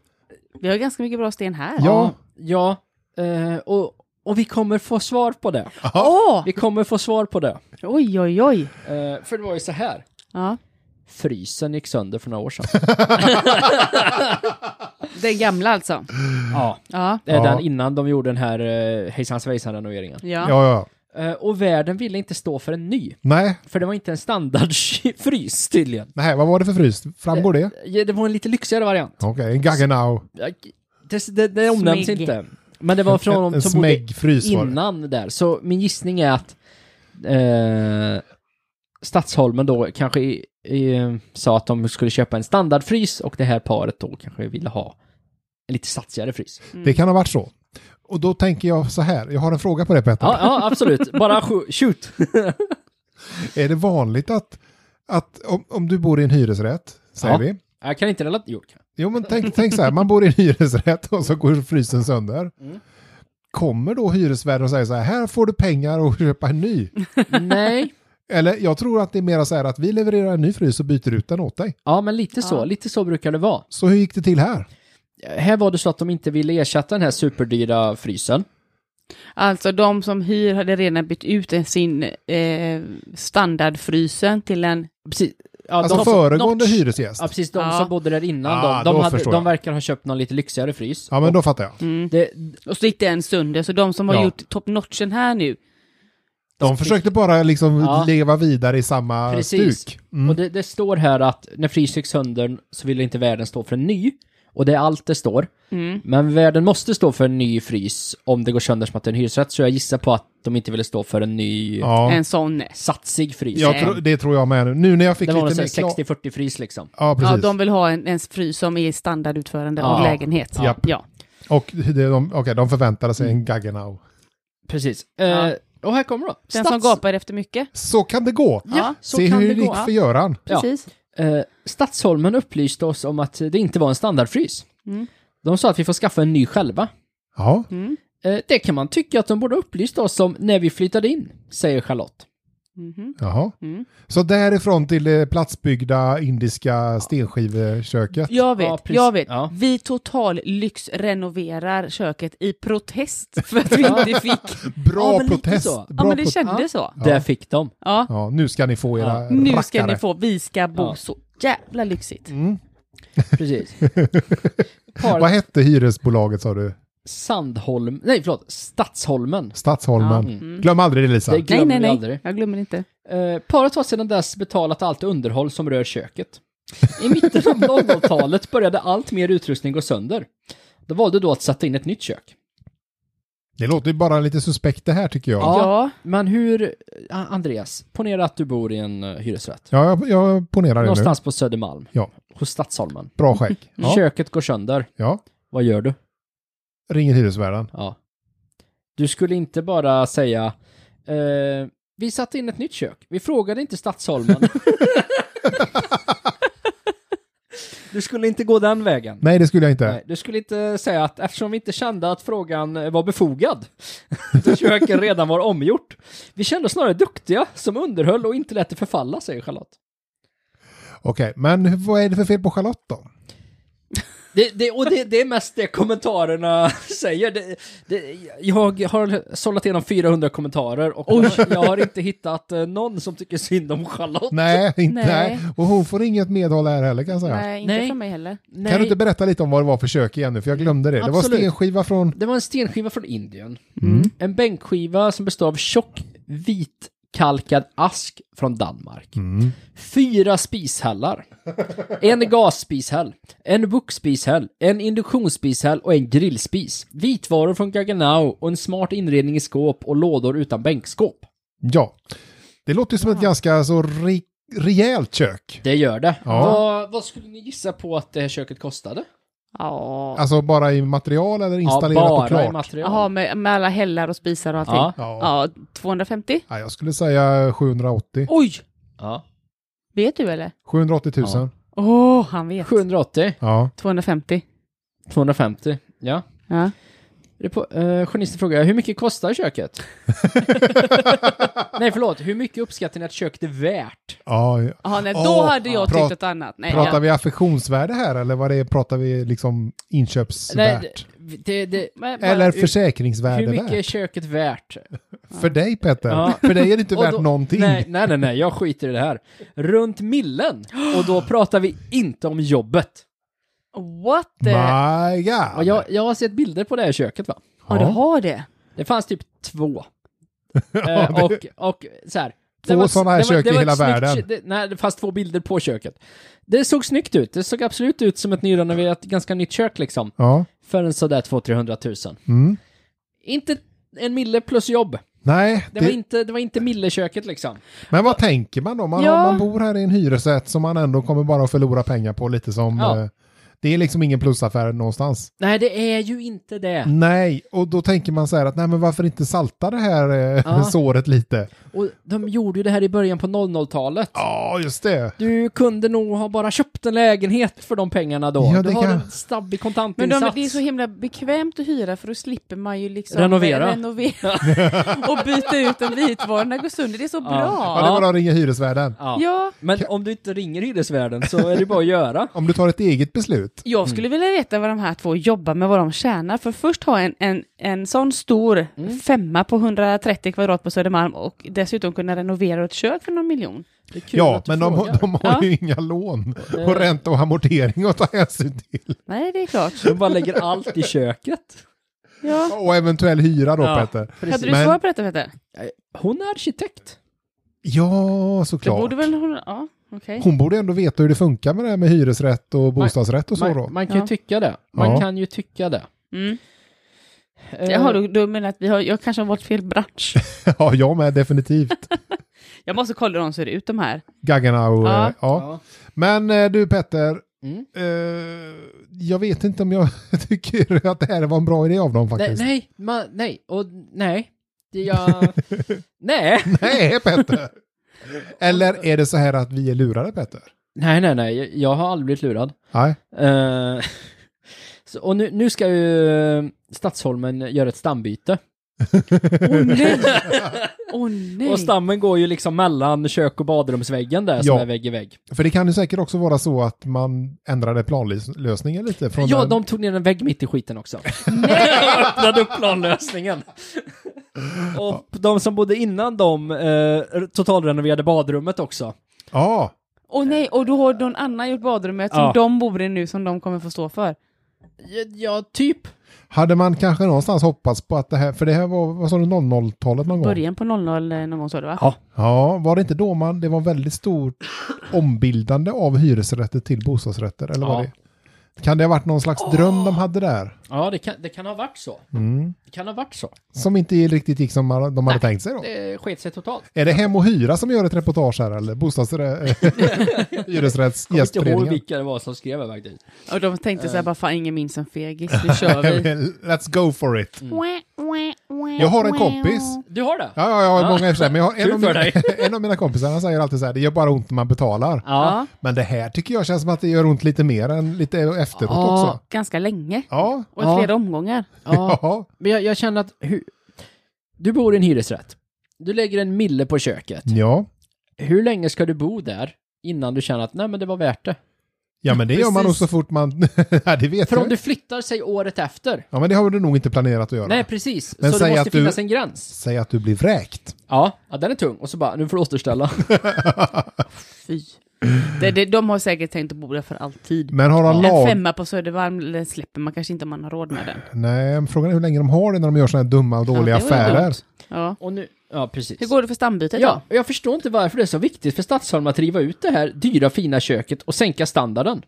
[SPEAKER 3] Vi har ganska mycket bra sten här.
[SPEAKER 1] Ja.
[SPEAKER 2] Ja, eh, och, och vi kommer få svar på det.
[SPEAKER 3] Åh!
[SPEAKER 2] Vi kommer få svar på det.
[SPEAKER 3] Oj, oj, oj.
[SPEAKER 2] Eh, för det var ju så här.
[SPEAKER 3] Ja.
[SPEAKER 2] Frysen gick sönder för några år sedan.
[SPEAKER 3] Den gamla alltså.
[SPEAKER 2] ja,
[SPEAKER 3] Ja.
[SPEAKER 2] det är
[SPEAKER 1] Ja.
[SPEAKER 2] den innan de gjorde den här eh, hejsan svejsan renoveringen.
[SPEAKER 1] Ja,
[SPEAKER 3] Ja.
[SPEAKER 1] ja, ja.
[SPEAKER 2] Eh, och världen ville inte stå för en ny.
[SPEAKER 1] Nej,
[SPEAKER 2] För det var inte en standardfrys tydligen.
[SPEAKER 1] nej, vad var det för frys? Framgår
[SPEAKER 2] Eh,
[SPEAKER 1] det?
[SPEAKER 2] Ja, Det var en lite lyxigare variant.
[SPEAKER 1] Okej, en Gaggenau.
[SPEAKER 2] Jag- Det, det, det omnämns
[SPEAKER 3] Smygg.
[SPEAKER 2] inte. Men det var från
[SPEAKER 1] en en
[SPEAKER 2] de som bodde
[SPEAKER 1] smäggfrys var det.
[SPEAKER 2] innan där. Så min gissning är att eh, Stadsholmen då kanske i, i, sa att de skulle köpa en standardfrys och det här paret då kanske ville ha en lite satsigare frys.
[SPEAKER 1] Det kan ha varit så. Och då tänker jag så här, jag har en fråga på det Petter.
[SPEAKER 2] Ja, ja absolut. Bara sk- shoot.
[SPEAKER 1] Är det vanligt att, att om, om du bor i en hyresrätt, säger
[SPEAKER 2] Ja.
[SPEAKER 1] vi.
[SPEAKER 2] Jag kan inte relatera. Jo, det kan.
[SPEAKER 1] Jo men tänk, tänk så här, man bor i en hyresrätt och så går frysen sönder.
[SPEAKER 2] Mm.
[SPEAKER 1] Kommer då hyresvärden och säger så här, här får du pengar och köpa en ny.
[SPEAKER 2] jag. Nej.
[SPEAKER 1] Eller jag tror att det är mera så här att vi levererar en ny frys och byter ut den åt dig.
[SPEAKER 2] Ja, men lite så.
[SPEAKER 3] Ja.
[SPEAKER 2] Lite så brukar det vara.
[SPEAKER 1] Så hur gick det till här?
[SPEAKER 2] Här var det så att de inte ville ersätta den här superdyra frysen.
[SPEAKER 3] Alltså de som hyr hade redan bytt ut sin eh, standardfrysen till en...
[SPEAKER 2] Precis. Ja,
[SPEAKER 1] Alltså
[SPEAKER 2] de,
[SPEAKER 1] föregående
[SPEAKER 2] de-
[SPEAKER 1] hyresgäst.
[SPEAKER 2] Ja, precis. De
[SPEAKER 3] Ja.
[SPEAKER 2] som bodde där innan,
[SPEAKER 1] Ah,
[SPEAKER 2] de,
[SPEAKER 1] då
[SPEAKER 2] de, hade,
[SPEAKER 1] förstår
[SPEAKER 2] de
[SPEAKER 1] jag.
[SPEAKER 2] verkar ha köpt någon lite lyxigare frys.
[SPEAKER 1] Ja men då fattar jag.
[SPEAKER 3] Mm.
[SPEAKER 2] Det,
[SPEAKER 3] Och så gick den sönder, så de som har
[SPEAKER 1] Ja.
[SPEAKER 3] gjort top-notchen här nu,
[SPEAKER 1] De försökte bara liksom
[SPEAKER 2] Ja.
[SPEAKER 1] leva vidare i samma
[SPEAKER 2] Precis.
[SPEAKER 1] stuk. Mm.
[SPEAKER 2] Och det, det står här att när frys gick sönder så ville inte världen stå för en ny. Och det är allt det står.
[SPEAKER 3] Mm.
[SPEAKER 2] Men världen måste stå för en ny frys om det går sönder som att det är en hyresrätt. Så jag gissar på att de inte ville stå för en ny
[SPEAKER 1] Ja,
[SPEAKER 3] en sån.
[SPEAKER 2] satsig frys.
[SPEAKER 1] jag tror, det tror jag med nu. Nu när jag fick
[SPEAKER 2] det
[SPEAKER 1] lite
[SPEAKER 2] var en
[SPEAKER 1] mer klar-
[SPEAKER 2] 60-40 frys liksom.
[SPEAKER 1] Ja, precis.
[SPEAKER 3] Ja, de vill ha en, en frys som är standardutförande av
[SPEAKER 2] Ja.
[SPEAKER 3] lägenhet.
[SPEAKER 1] Japp.
[SPEAKER 3] Ja.
[SPEAKER 1] Och det, de, okej, de förväntade sig
[SPEAKER 2] Mm.
[SPEAKER 1] en Gaggenau.
[SPEAKER 2] Precis.
[SPEAKER 3] Ja.
[SPEAKER 2] Eh, och här kommer då.
[SPEAKER 3] Den
[SPEAKER 2] Stats-
[SPEAKER 3] som gapar efter mycket.
[SPEAKER 1] Så kan det gå.
[SPEAKER 3] Ja,
[SPEAKER 2] så
[SPEAKER 1] Se
[SPEAKER 2] kan
[SPEAKER 1] hur
[SPEAKER 2] det gå,
[SPEAKER 1] gick
[SPEAKER 3] ja.
[SPEAKER 1] för Göran.
[SPEAKER 2] Ja.
[SPEAKER 3] Precis.
[SPEAKER 2] Eh, Stadsholmen upplyste oss om att det inte var en standardfrys.
[SPEAKER 3] Mm.
[SPEAKER 2] De sa att vi får skaffa en ny själva.
[SPEAKER 1] Ja,
[SPEAKER 3] Mm.
[SPEAKER 2] Eh, det kan man tycka att de borde ha upplyst oss om när vi flyttade in, säger Charlotte.
[SPEAKER 3] Mhm.
[SPEAKER 1] jaha.
[SPEAKER 3] Mm.
[SPEAKER 1] Så därifrån till det platsbyggda indiska stenskiveköket.
[SPEAKER 3] Jag vet,
[SPEAKER 2] Ja, precis.
[SPEAKER 3] jag vet.
[SPEAKER 2] Ja.
[SPEAKER 3] Vi total lyxrenoverar köket i protest för att vi inte fick.
[SPEAKER 1] Bra
[SPEAKER 2] Ja, men lite
[SPEAKER 1] protest.
[SPEAKER 2] så.
[SPEAKER 1] Bra
[SPEAKER 3] Ja, men det
[SPEAKER 1] prot-
[SPEAKER 2] Ja.
[SPEAKER 3] kändes så.
[SPEAKER 2] Där fick de.
[SPEAKER 3] Ja,
[SPEAKER 1] ja, nu ska ni få era
[SPEAKER 2] Ja.
[SPEAKER 3] nu ska
[SPEAKER 1] rackare.
[SPEAKER 3] ni få. Vi ska bo
[SPEAKER 2] Ja.
[SPEAKER 3] så jävla lyxigt.
[SPEAKER 2] Precis.
[SPEAKER 1] Vad
[SPEAKER 2] Paret
[SPEAKER 1] hette hyresbolaget sa du?
[SPEAKER 2] Sandholm, nej förlåt, Stadsholmen.
[SPEAKER 1] Stadsholmen.
[SPEAKER 2] Ja,
[SPEAKER 1] Glöm aldrig det Lisa.
[SPEAKER 2] Det glömmer
[SPEAKER 3] Nej,
[SPEAKER 2] vi
[SPEAKER 3] nej, nej.
[SPEAKER 2] aldrig.
[SPEAKER 3] Jag glömmer inte.
[SPEAKER 2] Eh, paret har sedan dess betalat allt underhåll som rör köket. I mitten av 00-talet började allt mer utrustning gå sönder. De valde då att sätta in ett nytt kök.
[SPEAKER 1] Det låter ju bara lite suspekt det här tycker jag.
[SPEAKER 2] Ja.
[SPEAKER 1] Ja,
[SPEAKER 2] Men hur, A- Andreas, ponera att du bor i en eh, hyresrätt.
[SPEAKER 1] jag, jag ponerar det nu.
[SPEAKER 2] Någonstans på Södermalm,
[SPEAKER 1] Ja,
[SPEAKER 2] hos Stadsholmen.
[SPEAKER 1] bra skägg. Ja.
[SPEAKER 2] Köket går sönder.
[SPEAKER 1] ja,
[SPEAKER 2] Vad gör du?
[SPEAKER 1] ringer hyresvärden.
[SPEAKER 2] Ja. Du skulle inte bara säga eh, Vi satte in ett nytt kök. Vi frågade inte Stadsholmen. du skulle inte gå den vägen.
[SPEAKER 1] Nej, det skulle jag inte.
[SPEAKER 2] Nej, du skulle inte säga att eftersom vi inte kände att frågan eh, var befogad, då köket redan var omgjort. Vi kände snarare duktiga som underhöll och inte lät det förfalla, säger Charlotte.
[SPEAKER 1] Okej, men vad är det för fel på Charlotte då?
[SPEAKER 2] Det, det, och det, det är mest det kommentarerna säger. Det, det, jag har sållat igenom 400 kommentarer och jag har inte hittat eh, någon som tycker synd om Charlotte.
[SPEAKER 1] Nej, inte,
[SPEAKER 3] Nej.
[SPEAKER 1] nej. Och hon får inget medhåll här heller kan jag säga.
[SPEAKER 3] Nej, inte
[SPEAKER 2] Nej.
[SPEAKER 3] från mig heller.
[SPEAKER 2] Nej,
[SPEAKER 1] Kan du inte berätta lite om vad det var för kök igen nu? För jag glömde det. Det var
[SPEAKER 2] Absolut.
[SPEAKER 1] stenskiva från...
[SPEAKER 2] det var en stenskiva från Indien.
[SPEAKER 1] Mm.
[SPEAKER 2] En bänkskiva som består av tjock vitkalkad ask från Danmark.
[SPEAKER 1] Mm.
[SPEAKER 2] Fyra spishällar. En gasspishäll, en wokspishäll, en induktionsspishäll och en grillspis. Vitvaror från Gaggenau och en smart inredning i skåp och lådor utan bänkskåp.
[SPEAKER 1] Ja. Det låter ju som
[SPEAKER 2] Ah.
[SPEAKER 1] ett ganska så re... rejält kök.
[SPEAKER 2] Det gör det.
[SPEAKER 1] Ja.
[SPEAKER 2] Vad, vad skulle ni gissa på att det här köket kostade?
[SPEAKER 3] Ja.
[SPEAKER 1] Alltså bara i material eller installerat
[SPEAKER 2] ja,
[SPEAKER 1] och
[SPEAKER 2] bara i
[SPEAKER 1] klart?
[SPEAKER 2] material.
[SPEAKER 3] Jaha, med, med alla hällar och spisar och allting.
[SPEAKER 2] Ja.
[SPEAKER 3] Ja.
[SPEAKER 1] ja.
[SPEAKER 3] 250?
[SPEAKER 1] ja. Jag skulle säga 780.
[SPEAKER 3] Oj!
[SPEAKER 2] Ja.
[SPEAKER 3] Vet du eller?
[SPEAKER 1] 780 000. Ja.
[SPEAKER 3] Åh, han vet.
[SPEAKER 2] 780,
[SPEAKER 3] 250.
[SPEAKER 2] 250, ja.
[SPEAKER 3] Ja.
[SPEAKER 2] Repo- eh, Journalisten frågar, hur mycket kostar köket? Nej, förlåt. Hur mycket uppskattar ni att köket är värt?
[SPEAKER 1] Ja, ja.
[SPEAKER 3] Jaha, nej, då
[SPEAKER 1] Åh,
[SPEAKER 3] hade jag
[SPEAKER 1] ja.
[SPEAKER 3] tyckt
[SPEAKER 1] Prat-
[SPEAKER 3] ett annat. Nej,
[SPEAKER 1] Pratar
[SPEAKER 3] ja.
[SPEAKER 1] vi affektionsvärde här eller vad det är? Pratar vi liksom inköpsvärt?
[SPEAKER 2] Nej, det, det, det,
[SPEAKER 3] Men, bara-
[SPEAKER 1] eller
[SPEAKER 2] hur
[SPEAKER 1] försäkringsvärde
[SPEAKER 2] mycket är
[SPEAKER 1] värt?
[SPEAKER 2] köket värt?
[SPEAKER 1] För dig Petter?
[SPEAKER 2] Ja.
[SPEAKER 1] För dig är det inte
[SPEAKER 2] Och
[SPEAKER 1] värt
[SPEAKER 2] då-
[SPEAKER 1] någonting.
[SPEAKER 2] Nej, nej, nej, nej, jag skiter i det här. Runt millen. Och då pratar vi inte om jobbet.
[SPEAKER 3] What the...
[SPEAKER 1] My God!
[SPEAKER 2] Och jag, jag har sett bilder på det här köket, va?
[SPEAKER 3] Ja, du har det.
[SPEAKER 2] Det fanns typ två. Eh, och, och så här.
[SPEAKER 1] Två såna här kök i
[SPEAKER 2] var
[SPEAKER 1] hela
[SPEAKER 2] ett snyggt
[SPEAKER 1] världen.
[SPEAKER 2] kö- Det, nej, det fanns två bilder på köket. Det såg snyggt ut. Det såg absolut ut som ett nyrenoverat, ganska nytt kök liksom.
[SPEAKER 1] Ja.
[SPEAKER 2] För en sådär 200-300 tusen.
[SPEAKER 1] Mm.
[SPEAKER 2] Inte en mille plus jobb.
[SPEAKER 1] Nej,
[SPEAKER 2] Det var
[SPEAKER 1] det,
[SPEAKER 2] inte, det var inte milleköket liksom.
[SPEAKER 1] men vad tänker man då? Man,
[SPEAKER 3] Ja.
[SPEAKER 1] om man bor här i en hyresrätt som man ändå kommer bara att förlora pengar på lite som...
[SPEAKER 2] Ja.
[SPEAKER 1] Eh, det är liksom ingen plusaffär någonstans.
[SPEAKER 2] Nej, det är ju inte det.
[SPEAKER 1] Nej, och då tänker man så här att nej men varför inte salta det här eh,
[SPEAKER 2] Ja.
[SPEAKER 1] såret lite?
[SPEAKER 2] Och de gjorde ju det här i början på 00-talet.
[SPEAKER 1] Ja, just det.
[SPEAKER 2] Du kunde nog ha bara köpt en lägenhet för de pengarna då.
[SPEAKER 1] Ja,
[SPEAKER 2] du
[SPEAKER 1] det
[SPEAKER 2] har
[SPEAKER 1] kan-
[SPEAKER 2] en stabbig
[SPEAKER 3] Men
[SPEAKER 2] kontantinsats.
[SPEAKER 3] de, det är så himla bekvämt att hyra för då slipper man ju liksom
[SPEAKER 2] Renovera.
[SPEAKER 3] renovera och byta ut en vitvarorna går sönder. Det är så
[SPEAKER 1] Ja,
[SPEAKER 3] bra.
[SPEAKER 1] det var att ringa hyresvärden.
[SPEAKER 2] ja.
[SPEAKER 3] Ja,
[SPEAKER 2] Men om du inte ringer hyresvärden så är det bara att göra.
[SPEAKER 1] Om du tar ett eget beslut.
[SPEAKER 3] jag skulle vilja veta vad de här två jobbar med, vad de tjänar. För först ha en, en, en sån stor femma på 130 kvadrat på Södermalm och dessutom kunna renovera ett kök för någon miljon.
[SPEAKER 2] Det är kul
[SPEAKER 1] Ja,
[SPEAKER 2] att du
[SPEAKER 1] men de,
[SPEAKER 2] frågar.
[SPEAKER 1] de har
[SPEAKER 3] Ja.
[SPEAKER 1] ju inga lån
[SPEAKER 2] Eh.
[SPEAKER 1] och ränta och amortering att ta hänsyn till.
[SPEAKER 3] Nej, det är klart.
[SPEAKER 2] De bara lägger allt i köket.
[SPEAKER 3] Ja.
[SPEAKER 1] Och eventuell hyra då,
[SPEAKER 2] Ja.
[SPEAKER 1] Petter.
[SPEAKER 3] Hade du
[SPEAKER 1] Men-
[SPEAKER 3] svar på detta Peter?
[SPEAKER 2] Hon är arkitekt.
[SPEAKER 1] Ja,
[SPEAKER 3] Det
[SPEAKER 1] såklart.
[SPEAKER 3] borde väl hon... Ja, okej.
[SPEAKER 1] Hon borde ändå veta hur det funkar med det här med hyresrätt och bostadsrätt och så då.
[SPEAKER 2] Man, man kan ju
[SPEAKER 3] Ja.
[SPEAKER 2] tycka det. Man
[SPEAKER 1] Ja.
[SPEAKER 2] kan ju tycka det.
[SPEAKER 3] Mm.
[SPEAKER 2] Eh,
[SPEAKER 3] Jaha, du, du menar att vi har, jag kanske har valt fel bransch?
[SPEAKER 1] Ja, jag med, definitivt.
[SPEAKER 3] Jag måste kolla hur de ser ut de här.
[SPEAKER 1] Gaggarna och...
[SPEAKER 3] Ja.
[SPEAKER 1] Ja. eh, ja.
[SPEAKER 2] Ja.
[SPEAKER 1] Men eh, du, Petter.
[SPEAKER 2] Mm.
[SPEAKER 1] Eh, jag vet inte om jag tycker att det här var en bra idé av dem
[SPEAKER 2] Nej,
[SPEAKER 1] faktiskt.
[SPEAKER 2] nej, man, nej, och nej. Det jag... nej.
[SPEAKER 1] Nej, Petter! Eller är det så här att vi är lurade, Petter?
[SPEAKER 2] Nej, nej, nej. Jag- Jag har aldrig blivit lurad.
[SPEAKER 1] Nej.
[SPEAKER 2] Eh, så, och nu, nu ska ju eh, Stadsholmen göra ett stambyte.
[SPEAKER 3] Åh nej! Åh nej!
[SPEAKER 2] Och stammen går ju liksom mellan kök och badrumsväggen där som
[SPEAKER 1] Ja.
[SPEAKER 2] är vägg i vägg.
[SPEAKER 1] För det kan ju säkert också vara så att man ändrade planlösningen lite. Från
[SPEAKER 2] ja,
[SPEAKER 1] den-
[SPEAKER 2] de tog ner en vägg mitt i skiten också. Nej! Öppnade upp planlösningen. Och de som bodde innan dem eh, totalrenoverade badrummet också.
[SPEAKER 1] Ja,
[SPEAKER 3] Åh nej, och då har någon annan gjort badrummet
[SPEAKER 2] Ja.
[SPEAKER 3] som de bor i nu som de kommer få stå för.
[SPEAKER 2] Ja, ja typ.
[SPEAKER 1] hade man kanske någonstans hoppats på att det här, för det här var, vad sa du, 00-talet någon gång?
[SPEAKER 3] Början på 00 eh, någon gång sa du va?
[SPEAKER 2] Ja.
[SPEAKER 1] Ja, var det inte då man, det var väldigt stort ombildande av hyresrätter till bostadsrätter, eller var
[SPEAKER 2] Ja.
[SPEAKER 1] det? Kan det ha varit någon slags dröm de hade där?
[SPEAKER 2] Ja, det kan, det kan ha varit så. Det kan ha varit så.
[SPEAKER 1] Som inte riktigt gick som man- de hade tänkt sig då?
[SPEAKER 2] Det sket sig totalt.
[SPEAKER 1] Är det Hem och Hyra som gör ett reportage här, eller bostadsrätt,
[SPEAKER 2] Jag kommer inte ihåg
[SPEAKER 1] hyresrättsgästföreningen?
[SPEAKER 2] vilka det var som skrev det faktiskt.
[SPEAKER 3] Och de tänkte så här, bara fan ingen minns en fegis, nu kör vi.
[SPEAKER 1] Let's go for it.
[SPEAKER 2] Mm.
[SPEAKER 4] Jag
[SPEAKER 1] Jag har en kompis.
[SPEAKER 2] Du har det?
[SPEAKER 1] Ja, ja, jag har många i och för sig, men jag har en,
[SPEAKER 2] Kul
[SPEAKER 1] av
[SPEAKER 2] för
[SPEAKER 1] mina,
[SPEAKER 2] dig.
[SPEAKER 1] en av mina kompisar han säger alltid så här, det gör bara ont när man betalar.
[SPEAKER 3] Ja,
[SPEAKER 1] Men det här tycker jag känns som att det gör ont lite mer än lite efteråt
[SPEAKER 2] Ja.
[SPEAKER 1] också.
[SPEAKER 3] ganska länge.
[SPEAKER 1] Ja,
[SPEAKER 3] Och i
[SPEAKER 2] Ja.
[SPEAKER 3] flera omgångar.
[SPEAKER 2] ja.
[SPEAKER 1] ja,
[SPEAKER 2] Men jag, jag känner att hur, du bor i en hyresrätt. Du lägger en mille på köket.
[SPEAKER 1] ja.
[SPEAKER 2] Hur länge ska du bo där innan du känner att nej men det var värt det?
[SPEAKER 1] Ja, men det gör man nog
[SPEAKER 3] Precis.
[SPEAKER 1] så fort man... ja, det vet
[SPEAKER 2] För
[SPEAKER 1] jag.
[SPEAKER 2] om du flyttar sig året efter.
[SPEAKER 1] Ja, men det har du nog inte planerat att göra.
[SPEAKER 2] Nej precis,
[SPEAKER 1] Men
[SPEAKER 2] så det
[SPEAKER 1] säg
[SPEAKER 2] måste
[SPEAKER 1] att du-
[SPEAKER 2] finnas en gräns.
[SPEAKER 1] Säg att du blir vräkt.
[SPEAKER 2] Ja, ja, den är tung. Och så bara, nu får du återställa.
[SPEAKER 3] Fy. Det, det, de har säkert tänkt att bo där för alltid.
[SPEAKER 1] Men har de
[SPEAKER 3] En
[SPEAKER 1] lag...
[SPEAKER 3] femma på Södermalm eh, släpper man kanske inte om man har råd med den.
[SPEAKER 1] Nej, men frågan är hur länge de har det när de gör sådana här dumma och dåliga
[SPEAKER 3] Ja, det var ju
[SPEAKER 1] affärer.
[SPEAKER 3] dumt. Ja.
[SPEAKER 2] Och nu, ja precis.
[SPEAKER 3] Hur går det för stambytet
[SPEAKER 2] Ja, och jag förstår inte varför det är så viktigt för Stadsholm att riva ut det här dyra fina köket och sänka standarden.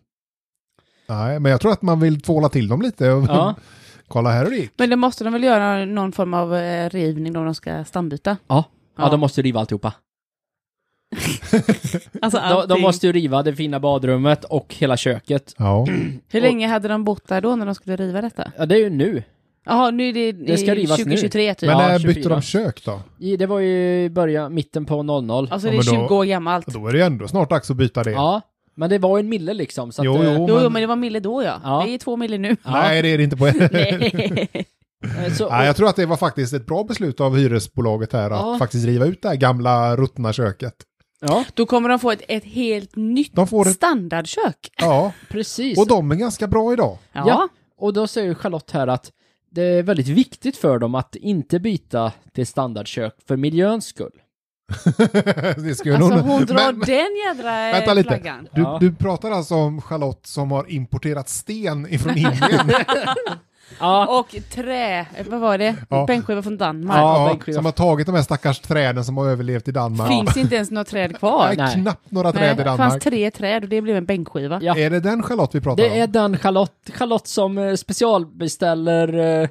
[SPEAKER 1] Nej, men jag tror att man vill tvåla till dem lite och
[SPEAKER 2] Ja.
[SPEAKER 1] kolla här hur det gick.
[SPEAKER 3] Men det måste de väl göra någon form av eh, rivning då de ska stambyta?
[SPEAKER 2] Ja, ja,
[SPEAKER 3] Ja.
[SPEAKER 2] de måste ju riva alltihopa.
[SPEAKER 3] Alltså
[SPEAKER 2] De,
[SPEAKER 3] allting.
[SPEAKER 2] de måste ju riva det fina badrummet och hela köket.
[SPEAKER 1] Ja.
[SPEAKER 3] Hur länge hade de bott där då när de skulle riva detta?
[SPEAKER 2] Ja, det är ju nu.
[SPEAKER 3] Jaha, nu är det,
[SPEAKER 2] Det ska
[SPEAKER 3] i
[SPEAKER 2] rivas nu.
[SPEAKER 3] 2023 typ.
[SPEAKER 1] Men
[SPEAKER 2] Ja,
[SPEAKER 1] när bytte
[SPEAKER 2] 24.
[SPEAKER 1] de kök då?
[SPEAKER 2] I- Det var ju i början, mitten på 00.
[SPEAKER 3] Alltså
[SPEAKER 1] Ja,
[SPEAKER 3] det är
[SPEAKER 1] men
[SPEAKER 3] 20
[SPEAKER 1] då-
[SPEAKER 3] år gammalt.
[SPEAKER 1] Då är det ju ändå snart dags att byta det.
[SPEAKER 2] Ja, men det var ju en mille liksom. Så att,
[SPEAKER 1] Jo,
[SPEAKER 2] eh,
[SPEAKER 1] jo.
[SPEAKER 3] Jo,
[SPEAKER 1] men-
[SPEAKER 3] jo, men det var mille då ja.
[SPEAKER 2] Ja.
[SPEAKER 3] Det är två mille nu.
[SPEAKER 2] Ja,
[SPEAKER 1] Nej, det är det inte på...
[SPEAKER 3] Nej.
[SPEAKER 2] eh, Så,
[SPEAKER 1] Nej, jag tror att det var faktiskt ett bra beslut av hyresbolaget här att
[SPEAKER 2] Ja.
[SPEAKER 1] faktiskt riva ut det här gamla ruttna köket.
[SPEAKER 2] ja,
[SPEAKER 3] Då kommer de få ett, ett helt nytt
[SPEAKER 1] De får ett...
[SPEAKER 3] standardkök.
[SPEAKER 1] Ja,
[SPEAKER 2] precis.
[SPEAKER 1] och de är ganska bra idag.
[SPEAKER 3] Ja.
[SPEAKER 2] Ja. Och då säger Charlotte här att det är väldigt viktigt för dem att inte byta till standardkök för miljöns skull.
[SPEAKER 1] det skulle
[SPEAKER 3] Alltså
[SPEAKER 1] nog-
[SPEAKER 3] hon drar
[SPEAKER 1] Men-
[SPEAKER 3] den jädra eh,
[SPEAKER 1] Vänta lite.
[SPEAKER 3] flaggan.
[SPEAKER 1] Du,
[SPEAKER 2] Ja.
[SPEAKER 1] du pratar alltså om Charlotte som har importerat sten ifrån Indien
[SPEAKER 2] Ja,
[SPEAKER 3] Och trä, eh, vad var det?
[SPEAKER 1] Ja.
[SPEAKER 3] Bänkskiva från Danmark.
[SPEAKER 2] Ja,
[SPEAKER 1] Ja,
[SPEAKER 2] bänkskiva.
[SPEAKER 1] som har tagit de här stackars träden som har överlevt i Danmark.
[SPEAKER 3] Finns inte ens några träd
[SPEAKER 1] Det
[SPEAKER 3] kvar.
[SPEAKER 1] är
[SPEAKER 2] Nej.
[SPEAKER 1] knappt några träd i
[SPEAKER 3] det
[SPEAKER 1] Danmark.
[SPEAKER 3] fanns tre träd och det blev en bänkskiva.
[SPEAKER 2] Ja.
[SPEAKER 1] Är det den Charlotte vi pratar
[SPEAKER 2] det är
[SPEAKER 1] om?
[SPEAKER 2] den Charlotte, Charlotte som eh, specialbeställer eh,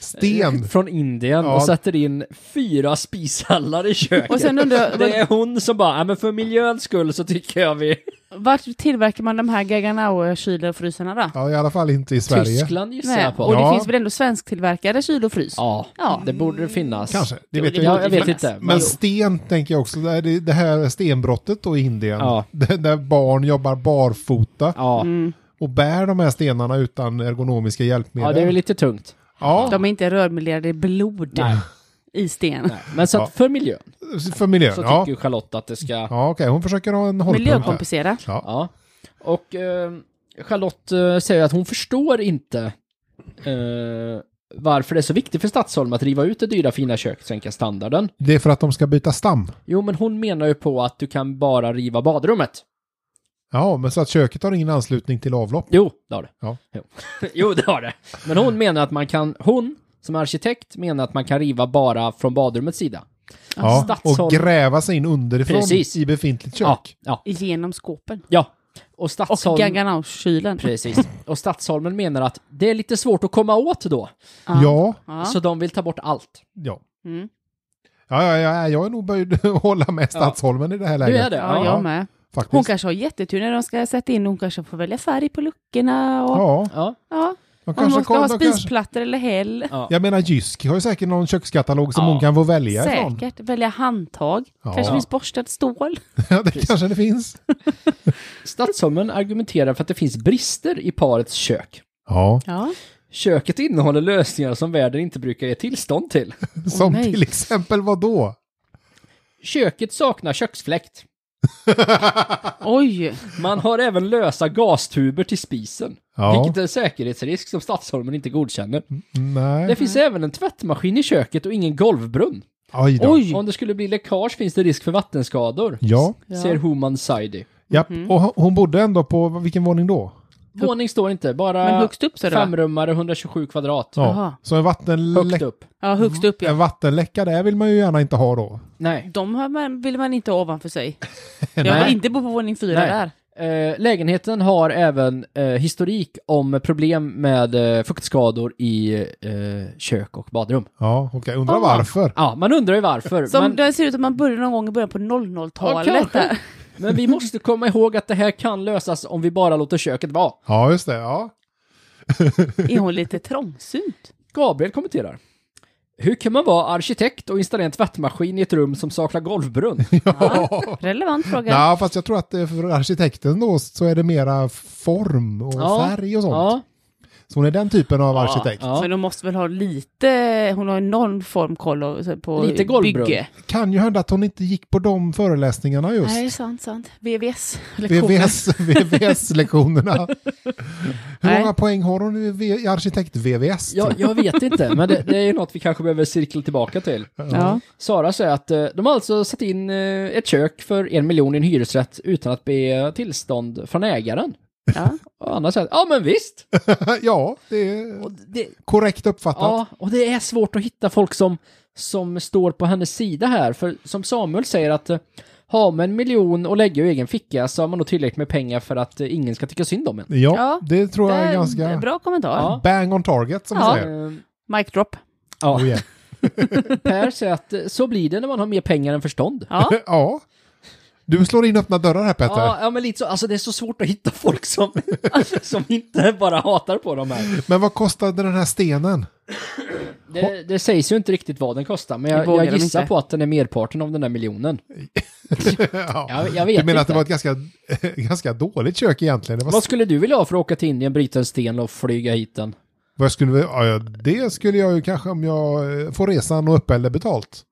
[SPEAKER 1] Sten.
[SPEAKER 2] från Indien
[SPEAKER 1] Ja.
[SPEAKER 2] och sätter in fyra spishallar i köket.
[SPEAKER 3] Och sen undrar
[SPEAKER 2] det
[SPEAKER 3] jag,
[SPEAKER 2] är hon som bara, "Ja, men för miljöns skull så tycker jag vi...
[SPEAKER 3] vart tillverkar man de här Gaganauer kyl och frysarna då?
[SPEAKER 1] Ja, i alla fall inte i Sverige.
[SPEAKER 2] Tyskland gissar
[SPEAKER 3] Nej.
[SPEAKER 2] jag på.
[SPEAKER 3] Och det
[SPEAKER 1] Ja.
[SPEAKER 3] finns väl ändå svensktillverkade kyl och frys?
[SPEAKER 2] Ja,
[SPEAKER 3] Ja.
[SPEAKER 2] det borde det finnas.
[SPEAKER 1] Kanske, det
[SPEAKER 2] Jo,
[SPEAKER 1] vet
[SPEAKER 2] det-
[SPEAKER 1] jag
[SPEAKER 2] ja, jag
[SPEAKER 1] inte.
[SPEAKER 2] vet inte.
[SPEAKER 1] Men sten tänker jag också, det här- det här stenbrottet då i Indien,
[SPEAKER 2] Ja.
[SPEAKER 1] där där barn jobbar barfota
[SPEAKER 2] Ja,
[SPEAKER 3] Mm.
[SPEAKER 1] och bär de här stenarna utan ergonomiska hjälpmedel.
[SPEAKER 2] ja det är väl lite tungt.
[SPEAKER 1] Ja,
[SPEAKER 3] De är inte rörmiljarder i blod
[SPEAKER 2] Nej,
[SPEAKER 3] i sten.
[SPEAKER 2] nej. Men så att för miljön
[SPEAKER 1] för miljön.
[SPEAKER 2] så
[SPEAKER 1] Ja,
[SPEAKER 2] tycker ju Charlotte att det ska...
[SPEAKER 1] ja okej, hon försöker ha en hållpunkt här.
[SPEAKER 3] Miljökompensera.
[SPEAKER 1] Ja.
[SPEAKER 2] Ja. Och eh, Charlotte eh, säger att hon förstår inte eh, varför det är så viktigt för Stadsholm att riva ut det dyra fina köket och sänka standarden.
[SPEAKER 1] Det är för att de ska byta stam.
[SPEAKER 2] Jo, men hon menar ju på att du kan bara riva badrummet.
[SPEAKER 1] Ja, men så att köket har ingen anslutning till avlopp.
[SPEAKER 2] Jo, det har det.
[SPEAKER 1] Ja.
[SPEAKER 2] Jo. jo, det har det. Men hon menar att man kan, hon som arkitekt menar att man kan riva bara från badrummets sida.
[SPEAKER 1] Ja, och
[SPEAKER 2] Stadsholm.
[SPEAKER 1] gräva sig in underifrån
[SPEAKER 2] Precis.
[SPEAKER 1] i befintligt kök.
[SPEAKER 2] Ja, ja,
[SPEAKER 3] Genom skåpen.
[SPEAKER 2] ja. Och Stadsholm...
[SPEAKER 3] Och Gaganau-kylen.
[SPEAKER 2] Precis. Och Stadsholmen menar att det är lite svårt att komma åt då.
[SPEAKER 1] Ja,
[SPEAKER 3] Ja.
[SPEAKER 2] Så de vill ta bort allt.
[SPEAKER 1] ja.
[SPEAKER 3] Mm.
[SPEAKER 1] Ja, ja, ja, jag är nog böjd att hålla med Stadsholmen i det här
[SPEAKER 2] Du
[SPEAKER 1] läget.
[SPEAKER 2] är det?
[SPEAKER 3] Ja, jag med.
[SPEAKER 1] Faktiskt.
[SPEAKER 3] Hon kanske har jättetur när de ska sätta in, hon kanske får välja färg på luckorna och... Ja.
[SPEAKER 1] Ja,
[SPEAKER 2] Ja,
[SPEAKER 1] de
[SPEAKER 3] Om
[SPEAKER 1] kanske
[SPEAKER 3] hon ska
[SPEAKER 1] kom,
[SPEAKER 3] ha
[SPEAKER 1] de kanske...
[SPEAKER 3] spisplattor eller häll.
[SPEAKER 2] ja.
[SPEAKER 1] Jag menar Jysk har ju säkert någon kökskatalog som
[SPEAKER 2] Ja,
[SPEAKER 1] hon kan få välja ifrån.
[SPEAKER 3] Säkert. Välja handtag.
[SPEAKER 1] Ja.
[SPEAKER 3] Kanske finns borstat stål.
[SPEAKER 1] Ja, det kanske det finns.
[SPEAKER 2] Stadsholmen argumenterar för att det finns brister i parets kök.
[SPEAKER 1] Ja,
[SPEAKER 3] Ja.
[SPEAKER 2] Köket innehåller lösningar som världen inte brukar ge tillstånd till.
[SPEAKER 1] som
[SPEAKER 3] nej.
[SPEAKER 1] till exempel vad då?
[SPEAKER 2] Köket saknar köksfläkt.
[SPEAKER 3] Oj!
[SPEAKER 2] Man har även lösa gastuber till spisen,
[SPEAKER 1] Ja.
[SPEAKER 2] vilket är en säkerhetsrisk som Stadsholmen inte godkänner. Det
[SPEAKER 1] Nej.
[SPEAKER 2] finns även en tvättmaskin i köket och ingen golvbrunn.
[SPEAKER 1] Oj då.
[SPEAKER 3] Oj!
[SPEAKER 2] Om det skulle bli läckage finns det risk för vattenskador,
[SPEAKER 1] Ja,
[SPEAKER 2] ser Homan Saidi.
[SPEAKER 1] ja. och hon- hon bodde ändå på, vilken våning då?
[SPEAKER 2] Våning står inte,
[SPEAKER 3] Men
[SPEAKER 2] bara
[SPEAKER 3] högst upp så då?
[SPEAKER 2] femrummare, 127 kvadrat.
[SPEAKER 1] Ja.
[SPEAKER 3] Jaha.
[SPEAKER 1] Så en,
[SPEAKER 2] Högt
[SPEAKER 1] vattenlä-
[SPEAKER 2] upp.
[SPEAKER 3] Ja, högst upp
[SPEAKER 1] en
[SPEAKER 3] ja.
[SPEAKER 1] vattenläcka där vill man ju gärna inte ha då.
[SPEAKER 2] Nej.
[SPEAKER 3] De har man, vill man inte ha ovanför sig. Jag
[SPEAKER 2] Nej.
[SPEAKER 3] vill inte bo på våning fyra
[SPEAKER 2] Nej.
[SPEAKER 3] där.
[SPEAKER 2] Eh, lägenheten har även eh, historik om problem med eh, fuktskador i eh, kök och badrum.
[SPEAKER 1] Ja, okej. Undrar
[SPEAKER 3] Ja.
[SPEAKER 1] varför.
[SPEAKER 2] Ja, man undrar ju varför.
[SPEAKER 3] Som
[SPEAKER 2] men,
[SPEAKER 3] det ser ut att man började någon gång i början på
[SPEAKER 2] Ja,
[SPEAKER 3] 00-talet.
[SPEAKER 2] kanske.
[SPEAKER 3] där.
[SPEAKER 2] men vi måste komma ihåg att det här kan lösas om vi bara låter köket vara.
[SPEAKER 1] Ja, just det. Ja.
[SPEAKER 3] är hon lite trångsynt?
[SPEAKER 2] Gabriel kommenterar. Hur kan man vara arkitekt och installera en tvättmaskin i ett rum som saknar golvbrunn?
[SPEAKER 1] ja.
[SPEAKER 3] Relevant fråga.
[SPEAKER 1] Ja, fast jag tror att eh, för arkitekten då så är det mera form och
[SPEAKER 2] Ja.
[SPEAKER 1] färg och sånt.
[SPEAKER 2] Ja,
[SPEAKER 1] Så hon är den typen av arkitekt.
[SPEAKER 2] ja.
[SPEAKER 3] Men hon måste väl ha lite, hon har ju någon form koll av- så på
[SPEAKER 2] Lite golvbrunn.
[SPEAKER 3] bygge.
[SPEAKER 1] Kan ju hända att hon inte gick på de föreläsningarna just.
[SPEAKER 3] Nej, sant, sant. VVS.
[SPEAKER 1] VVS, VVS-lektionerna. Hur
[SPEAKER 3] Nej.
[SPEAKER 1] många poäng har hon i V- i arkitekt-VVS?
[SPEAKER 2] Jag, jag vet inte, men det, det är ju något vi kanske behöver cirkla tillbaka till.
[SPEAKER 3] Ja.
[SPEAKER 2] Sara säger att eh, de har alltså satt in eh, ett kök för en miljon i en hyresrätt utan att be tillstånd från ägaren.
[SPEAKER 3] ja.
[SPEAKER 2] Och Anna säger att ja men visst.
[SPEAKER 1] ja, det är
[SPEAKER 2] Och det,
[SPEAKER 1] korrekt uppfattat.
[SPEAKER 2] ja, och det är svårt att hitta folk som, som står på hennes sida här. För som Samuel säger att eh, har man en miljon och lägger i egen ficka så har man nog tillräckligt med pengar för att eh, ingen ska tycka synd om en.
[SPEAKER 1] Ja,
[SPEAKER 3] Ja,
[SPEAKER 1] det tror
[SPEAKER 3] Det
[SPEAKER 1] jag är
[SPEAKER 3] är
[SPEAKER 1] ganska
[SPEAKER 3] Bra kommentar.
[SPEAKER 2] Ja.
[SPEAKER 1] bang on target som man
[SPEAKER 3] Ja.
[SPEAKER 1] säger.
[SPEAKER 2] Eh,
[SPEAKER 3] Mic drop.
[SPEAKER 2] Ja,
[SPEAKER 1] Oh, yeah.
[SPEAKER 2] Per säger att eh, så blir det när man har mer pengar än förstånd.
[SPEAKER 3] Ja.
[SPEAKER 1] ja. Du slår in öppna dörrar här Petter.
[SPEAKER 2] Ja, ja, men lite så. Alltså det är så svårt att hitta folk som, som inte bara hatar på de här.
[SPEAKER 1] Men vad kostade den här stenen?
[SPEAKER 2] Det, det sägs ju inte riktigt vad den kostar, men
[SPEAKER 3] Det
[SPEAKER 2] jag,
[SPEAKER 3] vågar
[SPEAKER 2] jag
[SPEAKER 3] de
[SPEAKER 2] gissar
[SPEAKER 3] inte.
[SPEAKER 2] på att den är merparten av den där miljonen.
[SPEAKER 1] ja.
[SPEAKER 2] Jag, jag vet
[SPEAKER 1] Du menar att
[SPEAKER 2] inte.
[SPEAKER 1] det var ett ganska, ganska dåligt kök egentligen? Det var,
[SPEAKER 2] Vad skulle du vilja ha för att åka till Indien, bryta en sten och flyga hit den?
[SPEAKER 1] vad jag skulle, ja, ja, det skulle jag ju kanske om jag eh, får resan och uppehället betalt.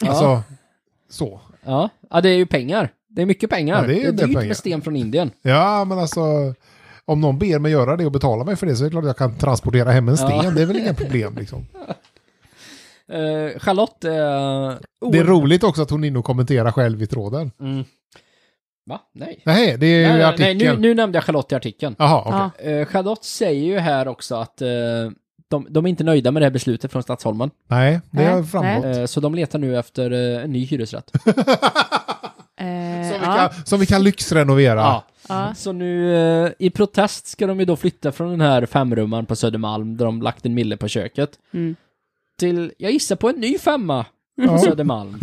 [SPEAKER 2] Ja.
[SPEAKER 1] Alltså, så.
[SPEAKER 2] Ja. ja, det är ju pengar. Det är mycket pengar.
[SPEAKER 1] Ja, det är ju en del
[SPEAKER 2] dyrt
[SPEAKER 1] pengar.
[SPEAKER 2] med sten från Indien.
[SPEAKER 1] Ja, men alltså om någon ber mig göra det och betala mig för det så är det klart att jag kan transportera hem en sten.
[SPEAKER 2] Ja.
[SPEAKER 1] Det är väl inga problem liksom.
[SPEAKER 2] Eh, Charlotte eh,
[SPEAKER 1] Det är
[SPEAKER 2] oer-
[SPEAKER 1] roligt också att hon är inne och kommenterar själv i tråden.
[SPEAKER 2] mm. Va? Nej.
[SPEAKER 1] Nej, det är ju
[SPEAKER 2] nej, nej,
[SPEAKER 1] artikeln.
[SPEAKER 2] nu, nu nämnde jag Charlotte i artikeln.
[SPEAKER 1] Jaha, okej.
[SPEAKER 3] Ja.
[SPEAKER 2] Eh, Charlotte säger ju här också att eh, de, de är inte nöjda med det här beslutet från Stadsholmen.
[SPEAKER 1] Nej, det
[SPEAKER 3] Nej,
[SPEAKER 1] har framgått.
[SPEAKER 2] Eh, så de letar nu efter eh, en ny hyresrätt.
[SPEAKER 3] Eh,
[SPEAKER 1] Som vi,
[SPEAKER 3] ja.
[SPEAKER 1] kan, som vi kan lyxrenovera.
[SPEAKER 2] Ja.
[SPEAKER 3] Ja.
[SPEAKER 2] Så nu eh, i protest ska de ju då flytta från den här femrummaren på Södermalm där de lagt en mille på köket
[SPEAKER 3] Mm.
[SPEAKER 2] till, jag gissar på en ny femma på
[SPEAKER 1] Ja.
[SPEAKER 2] Södermalm.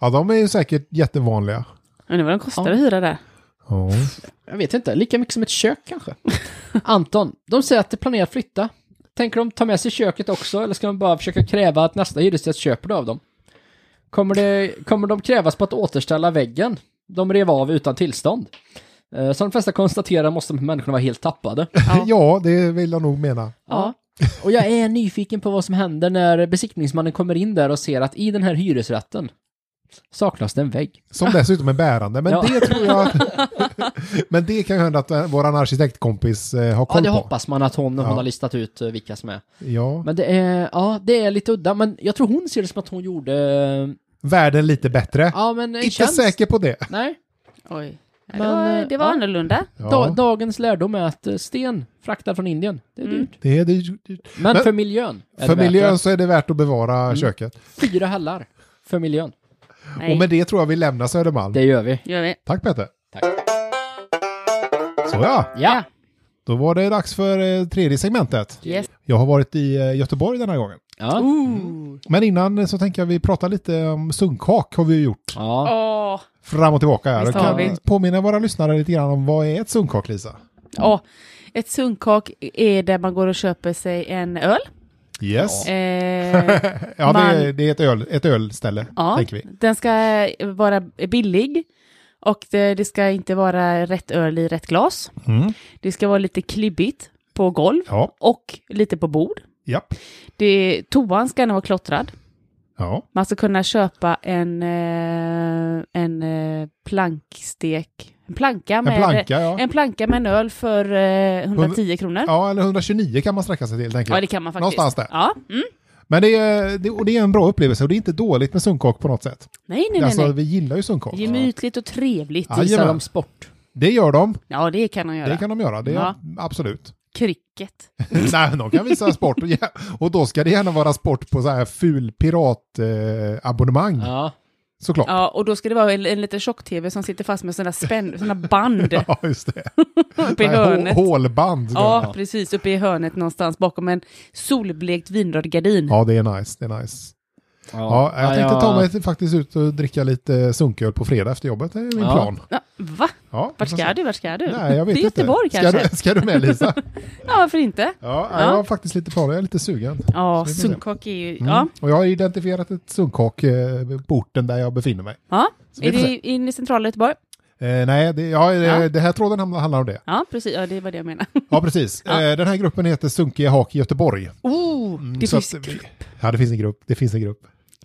[SPEAKER 1] Ja, de är ju säkert jättevanliga.
[SPEAKER 3] Undrar vad de kostar
[SPEAKER 2] Ja.
[SPEAKER 3] att hyra där.
[SPEAKER 1] Ja.
[SPEAKER 2] Jag vet inte, lika mycket som ett kök kanske. Anton, de säger att de planerar att flytta. Tänker de ta med sig köket också eller ska de bara försöka kräva att nästa hyresgäst köper det av dem? Kommer, det, kommer de krävas på att återställa väggen de rev av utan tillstånd? Eh, Som de flesta konstaterar måste de här människorna vara helt tappade.
[SPEAKER 1] Ja. det vill jag nog mena.
[SPEAKER 2] Ja. Och jag är nyfiken på vad som händer när besiktningsmannen kommer in där och ser att i den här hyresrätten saknas det en vägg.
[SPEAKER 1] Som dessutom är bärande. Men
[SPEAKER 2] Ja.
[SPEAKER 1] det tror jag... men det kan ju hända att eh, våran arkitektkompis eh, har
[SPEAKER 2] Ja,
[SPEAKER 1] koll
[SPEAKER 2] det
[SPEAKER 1] på.
[SPEAKER 2] hoppas man att hon, hon
[SPEAKER 1] Ja.
[SPEAKER 2] har listat ut eh, vilka som är.
[SPEAKER 1] Ja.
[SPEAKER 2] Men det är, ja, det är lite udda, men jag tror hon ser det som att hon gjorde, eh,
[SPEAKER 1] Världen lite bättre.
[SPEAKER 2] ja men en
[SPEAKER 1] Inte
[SPEAKER 2] tjänst.
[SPEAKER 1] säker på det.
[SPEAKER 2] Nej.
[SPEAKER 3] Oj. Men, det
[SPEAKER 2] Men,
[SPEAKER 3] var,
[SPEAKER 2] eh,
[SPEAKER 3] det var
[SPEAKER 2] ja.
[SPEAKER 3] annorlunda.
[SPEAKER 1] Ja.
[SPEAKER 2] Da, dagens lärdom är att eh, sten fraktad från Indien, det är
[SPEAKER 3] Mm.
[SPEAKER 2] dyrt.
[SPEAKER 1] Det är det,
[SPEAKER 2] Men,
[SPEAKER 1] Men-
[SPEAKER 2] för miljön är det Mm.
[SPEAKER 1] för
[SPEAKER 2] värt
[SPEAKER 1] miljön så är det värt att bevara köket.
[SPEAKER 2] det. Fyra hällar för miljön.
[SPEAKER 3] Nej,
[SPEAKER 1] Och med det tror jag vi lämnar Södermalm.
[SPEAKER 2] Det gör vi.
[SPEAKER 3] gör vi.
[SPEAKER 1] Tack Peter.
[SPEAKER 2] Tack.
[SPEAKER 1] Så ja,
[SPEAKER 2] Ja.
[SPEAKER 1] då var det dags för eh, tredje segmentet.
[SPEAKER 3] Yes.
[SPEAKER 1] Jag har varit i eh, Göteborg den här gången.
[SPEAKER 2] Ja.
[SPEAKER 3] Ooh.
[SPEAKER 1] Men innan eh, så tänker jag vi pratar lite om sunkak har vi ju gjort
[SPEAKER 2] ja.
[SPEAKER 3] Åh.
[SPEAKER 1] fram och tillbaka här.
[SPEAKER 3] Visst
[SPEAKER 1] Och
[SPEAKER 3] har
[SPEAKER 1] kan
[SPEAKER 3] vi.
[SPEAKER 1] påminna våra lyssnare lite grann om vad är ett sunkak Lisa?
[SPEAKER 3] Åh. Ett sunkak är där man går och köper sig en öl.
[SPEAKER 1] Yes.
[SPEAKER 3] Eh,
[SPEAKER 1] Ja, det,
[SPEAKER 3] man-
[SPEAKER 1] det är ett, öl, ett ölställe
[SPEAKER 3] ja.
[SPEAKER 1] tänker vi.
[SPEAKER 3] Den ska eh, vara billig och det, det ska inte vara rätt öl i rätt glas.
[SPEAKER 1] Mm.
[SPEAKER 3] Det ska vara lite klibbigt på golv
[SPEAKER 1] Ja,
[SPEAKER 3] och lite på bord.
[SPEAKER 1] japp.
[SPEAKER 3] Det, toan ska gärna vara klottrad.
[SPEAKER 1] Ja,
[SPEAKER 3] Man ska kunna köpa en, eh, en eh, plankstek, en planka med
[SPEAKER 1] en planka ja.
[SPEAKER 3] en, planka med en öl för eh, 110 kronor. Ja,
[SPEAKER 1] Ja, eller 129 kan man sträcka sig till tänker jag.
[SPEAKER 3] det kan man faktiskt.
[SPEAKER 1] Någonstans där.
[SPEAKER 3] Ja, mm.
[SPEAKER 1] Men det är, det, och det är en bra upplevelse och det är inte dåligt med sunkak på något sätt.
[SPEAKER 3] Nej, nej, nej.
[SPEAKER 1] alltså,
[SPEAKER 3] nej.
[SPEAKER 1] vi gillar ju sunkak.
[SPEAKER 3] Gemytligt och trevligt.
[SPEAKER 1] Ja.
[SPEAKER 2] Visar
[SPEAKER 1] Jajamän.
[SPEAKER 2] de sport.
[SPEAKER 1] Det gör de.
[SPEAKER 3] Ja, det kan han göra.
[SPEAKER 1] Det kan de göra, det är
[SPEAKER 3] Ja.
[SPEAKER 1] absolut.
[SPEAKER 3] Cricket.
[SPEAKER 1] Nej, de kan visa sport och, ja, och då ska det gärna vara sport på så här ful piratabonnemang eh, abonnemang,
[SPEAKER 2] Ja.
[SPEAKER 1] såklart.
[SPEAKER 3] Ja, och då ska det vara en, en liten tjock-tv som sitter fast med sådana spänn, såna band
[SPEAKER 1] Ja, just det.
[SPEAKER 3] uppe i
[SPEAKER 1] Nej, hå-
[SPEAKER 3] hörnet.
[SPEAKER 1] Hålband.
[SPEAKER 3] Ja, precis. Uppe i hörnet någonstans bakom en solblekt vinröd gardin.
[SPEAKER 1] ja, det är nice. Det är nice. Ja, jag tänkte ta mig till- faktiskt ut och dricka lite sunköl på fredag efter jobbet. Det är min
[SPEAKER 2] Ja.
[SPEAKER 1] plan.
[SPEAKER 3] Ja, va?
[SPEAKER 1] Ja,
[SPEAKER 3] Vart ska du? Vart ska du?
[SPEAKER 1] Nej, jag vet
[SPEAKER 3] Till
[SPEAKER 1] inte.
[SPEAKER 3] Göteborg
[SPEAKER 1] ska
[SPEAKER 3] kanske?
[SPEAKER 1] Du, ska du med Lisa?
[SPEAKER 3] Ja, varför inte?
[SPEAKER 1] Ja,
[SPEAKER 3] Ja.
[SPEAKER 1] jag har faktiskt lite planer. Jag är lite sugen.
[SPEAKER 3] Ja,
[SPEAKER 1] Så vi får se.
[SPEAKER 3] sunkak är ju...
[SPEAKER 1] Mm.
[SPEAKER 3] Ja.
[SPEAKER 1] Och jag har identifierat ett sunkak eh, på orten där jag befinner mig.
[SPEAKER 3] ja.
[SPEAKER 1] Så vi
[SPEAKER 3] Är
[SPEAKER 1] får
[SPEAKER 3] det in i centrala Göteborg?
[SPEAKER 1] Eh, nej, det, ja, eh,
[SPEAKER 3] Ja.
[SPEAKER 1] det här tråden handlar handlar om det.
[SPEAKER 3] Ja, precis. Ja, det var det jag menade.
[SPEAKER 1] Ja, precis.
[SPEAKER 3] Ja.
[SPEAKER 1] Eh, Den här gruppen heter Sunkiga Hak i Göteborg.
[SPEAKER 3] Oh,
[SPEAKER 1] Mm,
[SPEAKER 3] det
[SPEAKER 1] så
[SPEAKER 3] finns...
[SPEAKER 1] att vi- Ja, det finns en grupp. Det finns en grupp.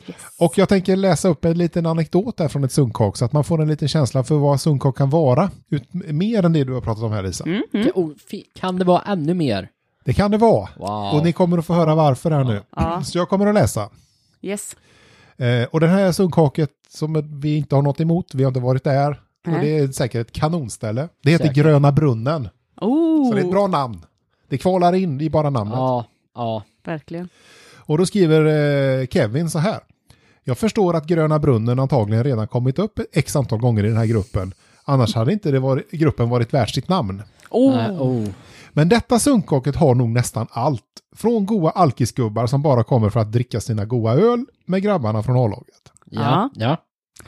[SPEAKER 3] Yes.
[SPEAKER 1] Och jag tänker läsa upp en liten anekdot där från ett sunkak så att man får en liten känsla för vad sunkak kan vara. Ut, mer än det du har pratat om här, Lisa.
[SPEAKER 3] Mm, mm.
[SPEAKER 2] Oh, fi- Kan det vara ännu mer?
[SPEAKER 1] Det kan det vara.
[SPEAKER 2] Wow.
[SPEAKER 1] Och ni kommer att få höra varför här nu.
[SPEAKER 3] Ja.
[SPEAKER 1] Så jag kommer att läsa.
[SPEAKER 3] Yes.
[SPEAKER 1] Eh, och det här sunkaket som vi inte har något emot, vi har inte varit där. Och
[SPEAKER 3] Nej.
[SPEAKER 1] det är säkert ett kanonställe. Det heter
[SPEAKER 2] Säkert.
[SPEAKER 1] Gröna Brunnen.
[SPEAKER 3] Oh,
[SPEAKER 1] Så det är ett bra namn. Det kvalar in i bara namnet.
[SPEAKER 2] Ja, ja.
[SPEAKER 3] verkligen.
[SPEAKER 1] Och då skriver eh, Kevin så här. Jag förstår att Gröna Brunnen antagligen redan kommit upp x antal gånger i den här gruppen. Annars hade inte det varit, gruppen varit värd sitt namn.
[SPEAKER 3] Oh,
[SPEAKER 2] Nej, oh.
[SPEAKER 1] Men detta sunkoket har nog nästan allt. Från goa alkisgubbar som bara kommer för att dricka sina goa öl med grabbarna från A-laget.
[SPEAKER 2] Ja,
[SPEAKER 3] Ja.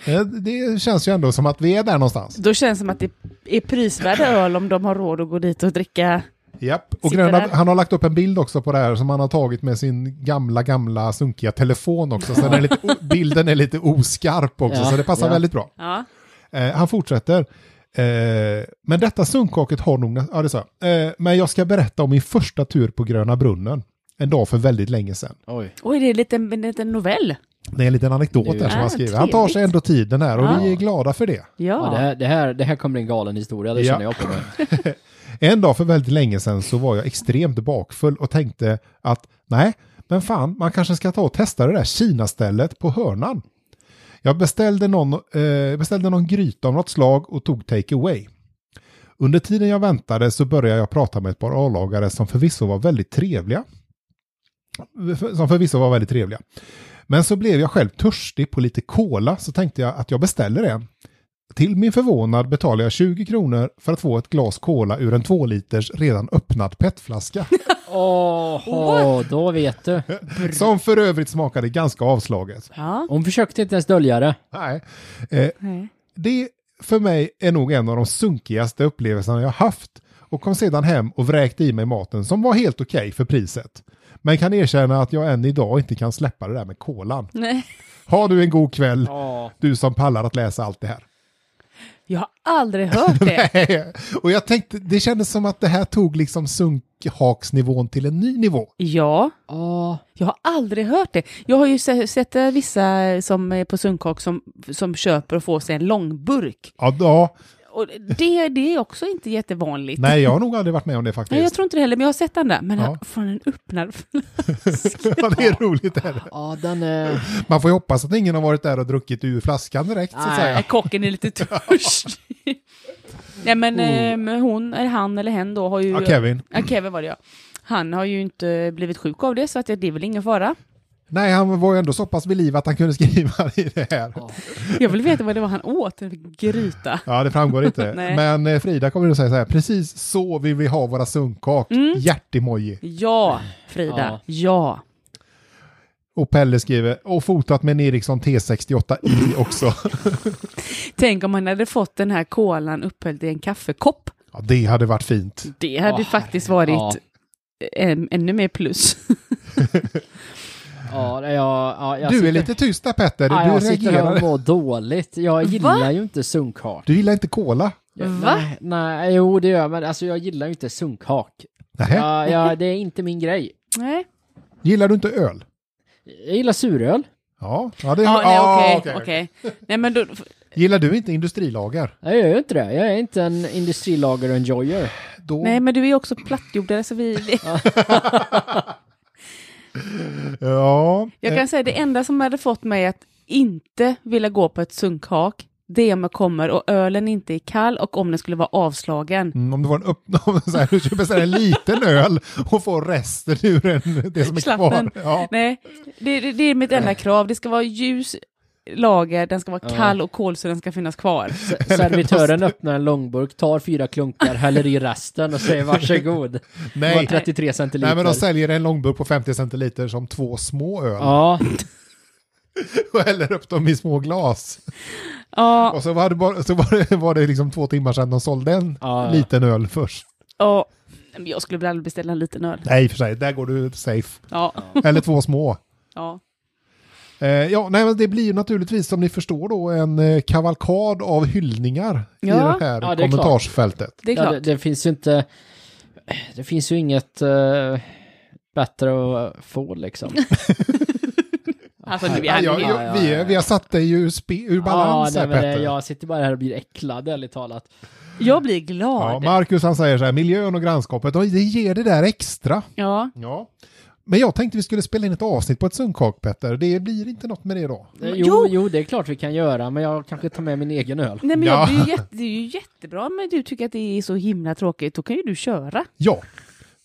[SPEAKER 2] ja.
[SPEAKER 1] Eh, Det känns ju ändå som att vi är där någonstans.
[SPEAKER 3] Då känns det som att det är prisvärd öl om de har råd att gå dit och dricka.
[SPEAKER 1] Japp. Och
[SPEAKER 3] Sitter
[SPEAKER 1] Gröna,
[SPEAKER 3] där.
[SPEAKER 1] han har lagt upp en bild också på det här som han har tagit med sin gamla, gamla sunkiga telefon också. Så den är lite, o- bilden är lite oskarp också,
[SPEAKER 2] Ja,
[SPEAKER 1] så det passar
[SPEAKER 2] ja.
[SPEAKER 1] väldigt bra.
[SPEAKER 3] Ja.
[SPEAKER 1] Eh, han fortsätter. Eh, men detta sunkaket har nog... nä- Ja, det sa jag. Eh, men jag ska berätta om min första tur på Gröna Brunnen. En dag för väldigt länge sedan.
[SPEAKER 2] Oj.
[SPEAKER 3] Oj, det är en liten, en liten novell.
[SPEAKER 1] Det är en liten anekdot där som
[SPEAKER 3] Ah,
[SPEAKER 1] han skriver. Han tar sig
[SPEAKER 3] trevligt.
[SPEAKER 1] ändå tiden här och
[SPEAKER 3] Ja.
[SPEAKER 1] vi är glada för det.
[SPEAKER 2] Ja, det,
[SPEAKER 3] Ja.
[SPEAKER 2] här, det, här, det här kommer bli en galen historia, det
[SPEAKER 1] Ja.
[SPEAKER 2] känner jag på mig.
[SPEAKER 1] En dag för väldigt länge sedan så var jag extremt bakfull och tänkte att nej, men fan, man kanske ska ta och testa det där Kina-stället på hörnan. Jag beställde någon, eh, beställde någon gryta av något slag och tog take away. Under tiden jag väntade så började jag prata med ett par A-lagare som förvisso var väldigt trevliga. Som förvisso var väldigt trevliga. Men så blev jag själv törstig på lite cola så tänkte jag att jag beställer en. Till min förvånad betalade jag 20 kronor för att få ett glas cola ur en 2 liters redan öppnad petflaska.
[SPEAKER 2] Åh, då vet du.
[SPEAKER 1] som för övrigt smakade ganska avslaget.
[SPEAKER 3] Ja.
[SPEAKER 2] Hon försökte inte ens dölja det.
[SPEAKER 1] Nej. Eh,
[SPEAKER 3] Nej.
[SPEAKER 1] Det för mig är nog en av de sunkigaste upplevelserna jag haft och kom sedan hem och vräkte i mig maten som var helt okej för priset. Men kan erkänna att jag än idag inte kan släppa det där med kolan.
[SPEAKER 3] Nej.
[SPEAKER 1] Ha du en god kväll,
[SPEAKER 2] Ja.
[SPEAKER 1] du som pallar att läsa allt det här.
[SPEAKER 3] Jag har aldrig hört det.
[SPEAKER 1] och jag tänkte, det kändes som att det här tog liksom sunkhaksnivån till en ny nivå.
[SPEAKER 3] ja.
[SPEAKER 2] Ja.
[SPEAKER 3] Jag har aldrig hört det. Jag har ju se- sett eh, vissa som är på Sundkak som, som köper och får sig en långburk.
[SPEAKER 1] Ja, ja,
[SPEAKER 3] Och det, det är också inte jättevanligt.
[SPEAKER 1] nej jag har nog aldrig varit med om det faktiskt.
[SPEAKER 3] Nej, jag tror inte det heller, men jag har sett den där. Men
[SPEAKER 1] Ja.
[SPEAKER 3] ja. från en öppnad...
[SPEAKER 1] Ja, det är roligt. Där.
[SPEAKER 2] Ja, den är...
[SPEAKER 1] Man får ju hoppas att ingen har varit där och druckit ur flaskan direkt. Så att
[SPEAKER 2] Nej.
[SPEAKER 1] säga.
[SPEAKER 3] Nej, kocken är lite törstig. Nej, men eh, hon, eller han eller hen då har ju...
[SPEAKER 1] Ja, Kevin.
[SPEAKER 3] Ja, Kevin var det ja. Han har ju inte blivit sjuk av det, så att det det är väl ingen fara.
[SPEAKER 1] Nej, han var ju ändå så pass vid liv att han kunde skriva i det här.
[SPEAKER 2] Ja.
[SPEAKER 3] Jag vill veta vad det var han åt, en gryta.
[SPEAKER 1] Ja, det framgår inte.
[SPEAKER 3] Nej.
[SPEAKER 1] Men eh, Frida kommer att säga så här, precis så vill vi ha våra sunkkak.
[SPEAKER 3] Mm.
[SPEAKER 1] Hjärtemoji.
[SPEAKER 3] Ja, Frida. Ja.
[SPEAKER 1] Och Pelle skriver, och fotat med en Ericsson T68i också.
[SPEAKER 3] Tänk om han hade fått den här kolan upphälld i en kaffekopp.
[SPEAKER 1] ja, det hade varit fint.
[SPEAKER 3] Det hade
[SPEAKER 2] Åh,
[SPEAKER 3] faktiskt
[SPEAKER 2] herregud.
[SPEAKER 3] varit en, ännu mer plus.
[SPEAKER 2] Ja, det- ja, ja, jag
[SPEAKER 1] du
[SPEAKER 2] sitter...
[SPEAKER 1] är lite tyst där Petter,
[SPEAKER 2] Ja,
[SPEAKER 1] du
[SPEAKER 2] jag sitter och
[SPEAKER 1] reagerar.
[SPEAKER 2] mår dåligt. Jag gillar ju inte sunkhak.
[SPEAKER 1] Du gillar inte cola?
[SPEAKER 2] Ja,
[SPEAKER 3] Va?
[SPEAKER 2] Nej, nej, jo det gör jag, men alltså jag gillar ju inte sunkhak.
[SPEAKER 1] Nej.
[SPEAKER 2] Ja, ja, det är inte min grej.
[SPEAKER 3] Nej.
[SPEAKER 1] Gillar du inte öl?
[SPEAKER 2] Jag gillar suröl.
[SPEAKER 1] Ja, ja det
[SPEAKER 3] Ja, nej,
[SPEAKER 1] ah,
[SPEAKER 3] okej.
[SPEAKER 1] okej, okej.
[SPEAKER 3] okej. Nej, men då...
[SPEAKER 1] Gillar du inte industrilager?
[SPEAKER 2] Jag gör ju inte det. Jag är inte en industrilager-enjoyer.
[SPEAKER 1] Då...
[SPEAKER 3] Nej, men du är också plattjordare, så vi...
[SPEAKER 1] Ja,
[SPEAKER 3] Jag
[SPEAKER 1] eh,
[SPEAKER 3] kan säga det enda som hade fått mig att inte vilja gå på ett sunkhak, det är om jag kommer och ölen inte är kall och om den skulle vara avslagen.
[SPEAKER 1] Mm, om det var en öppen, om så här, du köper beställa en liten öl och får resten ur en, det som är
[SPEAKER 3] Slappen.
[SPEAKER 1] kvar. Ja.
[SPEAKER 3] Nej, det, det, det är mitt enda krav. Det ska vara ljus lager, den ska vara kall och kolsyran ska finnas kvar.
[SPEAKER 2] S- Servitören öppnar en långburk, tar fyra klunkar, häller i resten och säger varsågod. Det var
[SPEAKER 1] Nej.
[SPEAKER 2] 33 centiliter.
[SPEAKER 1] Nej, men de säljer en långburk på 50 centiliter som två små öl
[SPEAKER 2] Ja,
[SPEAKER 1] och häller upp dem i små glas.
[SPEAKER 3] Ja,
[SPEAKER 1] Och så var det, bara, så var det, var det liksom två timmar sedan de sålde en
[SPEAKER 2] Ja, ja.
[SPEAKER 1] liten öl först.
[SPEAKER 3] ja. Men Jag skulle väl aldrig beställa en liten öl.
[SPEAKER 1] Nej, i och för sig, där går du safe.
[SPEAKER 3] Ja,
[SPEAKER 1] Eller två små.
[SPEAKER 3] ja.
[SPEAKER 1] Eh, ja, nej, men det blir ju naturligtvis som ni förstår då en eh, kavalkad av hyllningar
[SPEAKER 3] Ja.
[SPEAKER 1] i det här
[SPEAKER 2] Ja, det är klart.
[SPEAKER 1] kommentarsfältet.
[SPEAKER 3] det är
[SPEAKER 2] ja
[SPEAKER 3] klart.
[SPEAKER 2] det, det finns ju inte... Det finns ju inget eh, bättre att få liksom.
[SPEAKER 3] Alltså, nu,
[SPEAKER 1] Ja, ja,
[SPEAKER 3] jag,
[SPEAKER 2] ja, ja,
[SPEAKER 1] vi,
[SPEAKER 2] ja.
[SPEAKER 1] vi har satt dig ur, spe, ur balans
[SPEAKER 2] ja,
[SPEAKER 1] här
[SPEAKER 2] nej, men
[SPEAKER 1] Petter.
[SPEAKER 2] det, jag sitter bara här och blir äcklad, ärligt talat. Eh,
[SPEAKER 3] jag blir
[SPEAKER 1] Ja,
[SPEAKER 3] glad.
[SPEAKER 1] Marcus han säger så här, miljön och grannskapet, de- det ger det där extra.
[SPEAKER 3] Ja,
[SPEAKER 1] Ja. Men jag tänkte vi skulle spela in ett avsnitt på ett sunkak, Petter. Det blir inte något med det då.
[SPEAKER 2] Eh,
[SPEAKER 3] Men-
[SPEAKER 2] Jo,
[SPEAKER 3] jo!
[SPEAKER 2] jo. det är klart vi kan göra, men jag kanske tar med min egen öl.
[SPEAKER 3] Nej, men
[SPEAKER 1] Ja.
[SPEAKER 3] jag, det, är ju jätte, det är ju jättebra men du tycker att det är så himla tråkigt. Då kan ju du köra.
[SPEAKER 1] Ja.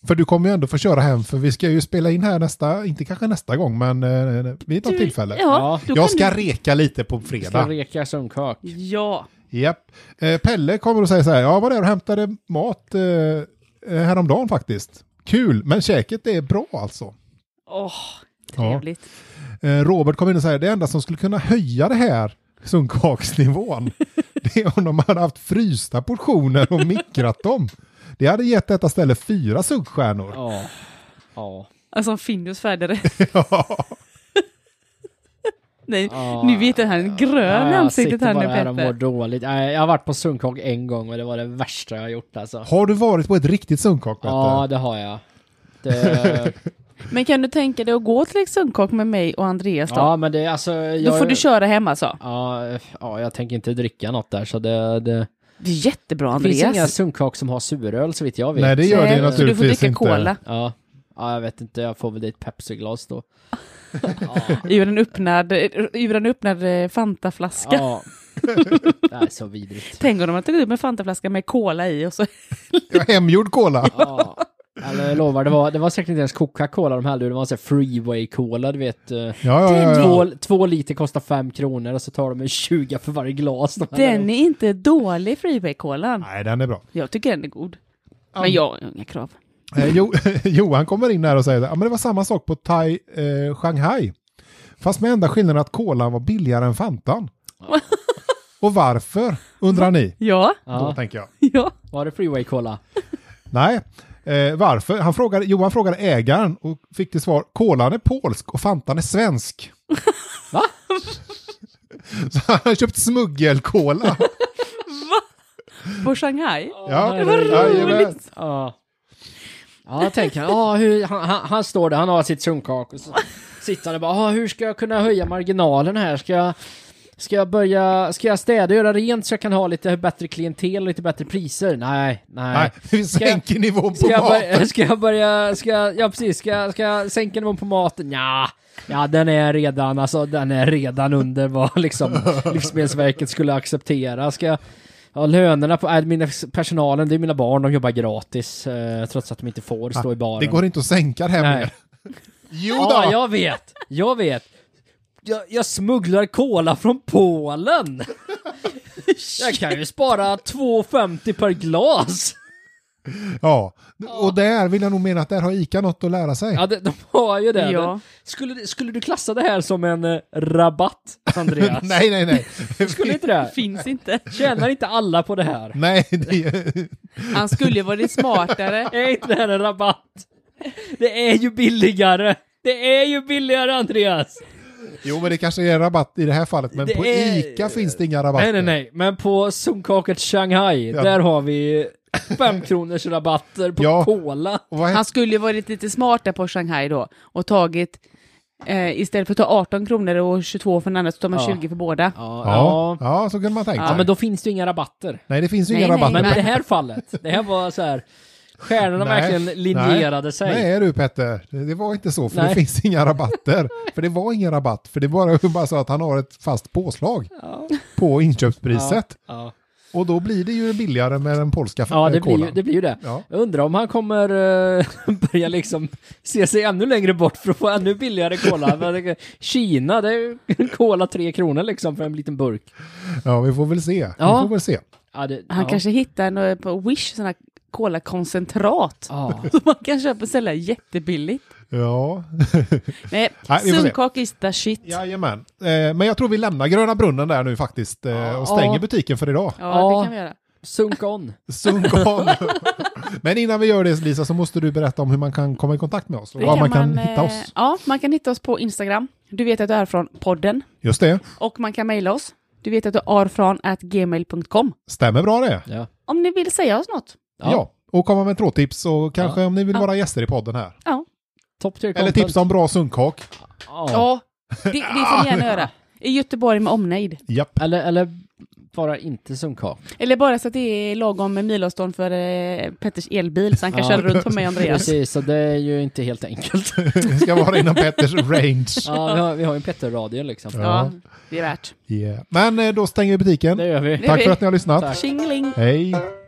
[SPEAKER 1] För du kommer ju ändå få köra hem, för vi ska ju spela in här nästa, inte kanske nästa gång, men eh, vid något
[SPEAKER 3] Du,
[SPEAKER 1] tillfälle.
[SPEAKER 3] Ja,
[SPEAKER 2] Ja.
[SPEAKER 3] då kan
[SPEAKER 1] jag ska
[SPEAKER 3] du...
[SPEAKER 1] reka lite på
[SPEAKER 2] Ska
[SPEAKER 1] fredag.
[SPEAKER 2] reka sunkak.
[SPEAKER 3] Ja.
[SPEAKER 1] Japp. Eh, Pelle kommer att säga så här, jag var där och hämtade mat eh, eh, häromdagen faktiskt. Kul, men käket är bra alltså.
[SPEAKER 3] Åh,
[SPEAKER 1] Ja.
[SPEAKER 3] trevligt.
[SPEAKER 1] Eh, Robert kom in och säger det enda som skulle kunna höja det här sunkhaksnivån det är om de hade haft frysta portioner och mikrat dem. Det hade gett detta ställe fyra sunkstjärnor.
[SPEAKER 2] Ja. Ja.
[SPEAKER 3] Alltså Findus färdare.
[SPEAKER 1] Ja.
[SPEAKER 3] Nej,
[SPEAKER 2] Ja.
[SPEAKER 3] nu vet jag att han är grön i
[SPEAKER 2] jag
[SPEAKER 3] ansiktet
[SPEAKER 2] sitter
[SPEAKER 3] han
[SPEAKER 2] bara här
[SPEAKER 3] är
[SPEAKER 2] och mår
[SPEAKER 3] Petter.
[SPEAKER 2] dåligt. Nej, Jag har varit på sunkhak en gång och det var det värsta jag har gjort alltså.
[SPEAKER 1] Har du varit på ett riktigt sunkhak? Petter?
[SPEAKER 2] Ja, det har jag. Det,
[SPEAKER 3] Men kan du tänka dig att gå till ett sunkak med mig och Andreas då?
[SPEAKER 2] ja, men det alltså...
[SPEAKER 3] Då
[SPEAKER 2] Jag,
[SPEAKER 3] får du köra hem alltså.
[SPEAKER 2] Ja, ja, jag tänker inte dricka något där så det... Det,
[SPEAKER 3] Det är jättebra
[SPEAKER 2] det finns inga
[SPEAKER 3] Andreas.
[SPEAKER 2] sunkhak som har suröl så vitt jag vet.
[SPEAKER 1] Nej, det gör
[SPEAKER 3] Nej,
[SPEAKER 1] det
[SPEAKER 3] Eh, så du får
[SPEAKER 1] naturligtvis
[SPEAKER 3] dricka
[SPEAKER 1] inte.
[SPEAKER 3] cola.
[SPEAKER 2] Ja. Ja, jag vet inte, jag får väl dit Pepsi-glas då. ja,
[SPEAKER 3] Ur en öppnad, ur en öppnad eh, Fantaflaska.
[SPEAKER 2] ja. Det här är så vidrigt.
[SPEAKER 3] Tänk om de hade tagit upp en Fantaflaska med cola i och så.
[SPEAKER 1] Ja, hemgjord cola.
[SPEAKER 2] Ja. Alltså, jag lovar, det var, det var säkert inte ens Coca-Cola de hällde ur, det var en sån här freeway-cola, du vet. eh,
[SPEAKER 1] Ja, ja, ja.
[SPEAKER 2] Två, två liter kostar fem kronor och så tar de en 20 för varje glas. De häller
[SPEAKER 3] Den
[SPEAKER 2] upp.
[SPEAKER 3] är inte dålig, Freeway-kolan.
[SPEAKER 1] Nej, den är bra.
[SPEAKER 3] Jag tycker den är god. Men jag har inga krav.
[SPEAKER 1] Eh, jo, Johan kommer in här och säger att ja, men det var samma sak på Thai eh, Shanghai. Fast med enda skillnaden att kolan var billigare än Fantan. och varför, undrar ni?
[SPEAKER 3] Ja,
[SPEAKER 1] Då
[SPEAKER 2] ja.
[SPEAKER 1] tänker jag.
[SPEAKER 3] ja.
[SPEAKER 2] Var det freeway-cola?
[SPEAKER 1] Nej, eh, varför? Han frågade, Johan frågade ägaren och fick till svar kolan är polsk och Fantan är svensk.
[SPEAKER 2] Va?
[SPEAKER 1] Så han har köpt smuggelkola.
[SPEAKER 3] På Shanghai.
[SPEAKER 1] Ja,
[SPEAKER 2] det var
[SPEAKER 1] jajamän.
[SPEAKER 2] Ja. Ja, jag tänker ja, hur, han, han, han står där, han har sitt sunkak och så sitter han och bara, "Ja, hur ska jag kunna höja marginalen här? Ska jag, ska jag börja, ska jag städa och göra rent så jag kan ha lite bättre klientel och lite bättre priser? Nej, nej.
[SPEAKER 1] Nej, vi sänker nivån på
[SPEAKER 2] Ska jag,
[SPEAKER 1] maten.
[SPEAKER 2] börja, ska jag börja, ska jag, ja precis, ska jag, ska jag sänka nivån på maten? Ja, ja den är redan, alltså den är redan under vad liksom Livsmedelsverket skulle acceptera. Ska jag, ja, lönerna på admin-personalen, det är mina barn, de jobbar gratis eh, trots att de inte får stå i baren.
[SPEAKER 1] Det går inte att sänka det här
[SPEAKER 2] Nej.
[SPEAKER 1] mer. Jo då!
[SPEAKER 2] Ja, jag vet, jag vet. Jag, jag smugglar cola från Polen! Jag kan ju spara 2,50 per glas!
[SPEAKER 1] Ja, och där vill jag nog mena att där har ICA något att lära sig.
[SPEAKER 2] Ja, det, de har ju det.
[SPEAKER 3] Ja.
[SPEAKER 2] Men Skulle, skulle du klassa det här som en eh, rabatt, Andreas?
[SPEAKER 1] nej, nej, nej.
[SPEAKER 2] Skulle inte det?
[SPEAKER 3] Finns inte.
[SPEAKER 2] Tjänar inte alla på det här?
[SPEAKER 1] nej, det,
[SPEAKER 3] Han skulle ju varit smartare.
[SPEAKER 2] Är inte det här en rabatt? Det är ju billigare! Det är ju billigare, Andreas!
[SPEAKER 1] jo, men det kanske är rabatt i det här fallet, men
[SPEAKER 2] Det
[SPEAKER 1] på
[SPEAKER 2] är-
[SPEAKER 1] ICA finns det inga rabatter.
[SPEAKER 2] Nej, nej, nej. Men på zonkaket Shanghai,
[SPEAKER 1] Ja.
[SPEAKER 2] där har vi 5 kronors rabatter på
[SPEAKER 1] Ja.
[SPEAKER 2] cola.
[SPEAKER 1] Och vad
[SPEAKER 3] Han
[SPEAKER 1] hette,
[SPEAKER 3] skulle ju varit lite smartare på Shanghai då och tagit eh, istället för att ta 18 kronor och 22 för den andra så tar man
[SPEAKER 2] Ja.
[SPEAKER 3] 20 för båda.
[SPEAKER 2] Ja,
[SPEAKER 1] ja,
[SPEAKER 2] ja.
[SPEAKER 1] ja. så kunde man tänka
[SPEAKER 2] ja,
[SPEAKER 1] sig.
[SPEAKER 2] men då finns det ju inga rabatter.
[SPEAKER 1] Nej, det finns ju
[SPEAKER 3] Nej,
[SPEAKER 1] inga
[SPEAKER 3] nej,
[SPEAKER 1] rabatter.
[SPEAKER 2] Men i det här fallet, det här var så här, stjärnorna
[SPEAKER 1] Nej,
[SPEAKER 2] verkligen linjerade sig.
[SPEAKER 1] Nej du Petter, det det var inte så för det
[SPEAKER 2] Nej.
[SPEAKER 1] finns inga rabatter. för det var ingen rabatt, för det var bara så att han har ett fast påslag
[SPEAKER 2] Ja.
[SPEAKER 1] på inköpspriset.
[SPEAKER 2] Ja.
[SPEAKER 1] Och då blir det ju billigare med den polska
[SPEAKER 2] Ja, det
[SPEAKER 1] eh, kolan.
[SPEAKER 2] blir, ju, det blir ju det.
[SPEAKER 1] Ja.
[SPEAKER 2] Jag undrar om han kommer eh, börja liksom se sig ännu längre bort för att få ännu billigare cola. Men det- Kina, det är ju cola tre kronor liksom för en liten burk.
[SPEAKER 1] ja, vi får väl se.
[SPEAKER 2] Ja.
[SPEAKER 1] Vi får väl se.
[SPEAKER 2] Ja, det,
[SPEAKER 3] Han
[SPEAKER 2] ja.
[SPEAKER 3] kanske hittar en, eh, på Wish sån här kola-koncentrat.
[SPEAKER 2] Ja.
[SPEAKER 3] Som man kan köpa och sälja jättebilligt.
[SPEAKER 1] Ja,
[SPEAKER 3] Nej,
[SPEAKER 1] Nej, vi får se.
[SPEAKER 3] sunkaka is the shit. Ja,
[SPEAKER 1] Jajamän. Eh, men jag tror vi lämnar Gröna Brunnen där nu faktiskt eh, och stänger
[SPEAKER 2] Ja.
[SPEAKER 1] butiken för idag.
[SPEAKER 2] Ja.
[SPEAKER 3] det kan vi göra.
[SPEAKER 2] Sunk on.
[SPEAKER 1] Sunk on. men innan vi gör det Lisa så måste du berätta om hur man kan komma i kontakt med oss och
[SPEAKER 3] Det
[SPEAKER 1] var man kan hitta
[SPEAKER 3] eh,
[SPEAKER 1] oss.
[SPEAKER 3] Ja, man kan hitta oss på Instagram. Du vet att du är från podden.
[SPEAKER 1] Just det,
[SPEAKER 3] Och man kan mejla oss. Du vet att du är från at gmail.com.
[SPEAKER 1] stämmer bra det.
[SPEAKER 2] Ja.
[SPEAKER 3] Om ni vill säga oss något.
[SPEAKER 1] Ja. Och komma med trådtips och kanske om ni vill
[SPEAKER 3] Ja.
[SPEAKER 1] vara gäster i podden här.
[SPEAKER 3] Ja,
[SPEAKER 2] Top tier
[SPEAKER 1] Eller
[SPEAKER 2] content.
[SPEAKER 1] tips om bra sunkkak.
[SPEAKER 2] Ja.
[SPEAKER 3] ja det, det får ni gärna göra. I Göteborg med omnejd.
[SPEAKER 1] Japp.
[SPEAKER 2] Eller, eller bara inte sunkak.
[SPEAKER 3] Eller bara så att det är lagom milavstånd för eh, Petters elbil så han kan
[SPEAKER 2] Ja.
[SPEAKER 3] köra runt på mig och Andreas.
[SPEAKER 2] Precis, så det är ju inte helt enkelt.
[SPEAKER 1] Det ska vara inom Petters range.
[SPEAKER 2] Ja, vi har, vi har ju en Petter-radio liksom.
[SPEAKER 3] Ja, det är värt.
[SPEAKER 1] Yeah. Men eh, då stänger vi butiken.
[SPEAKER 2] Det gör vi.
[SPEAKER 3] Det gör
[SPEAKER 1] Tack
[SPEAKER 3] vi.
[SPEAKER 1] för att ni har lyssnat.
[SPEAKER 2] Tack.
[SPEAKER 3] Tjingeling!
[SPEAKER 1] Hej.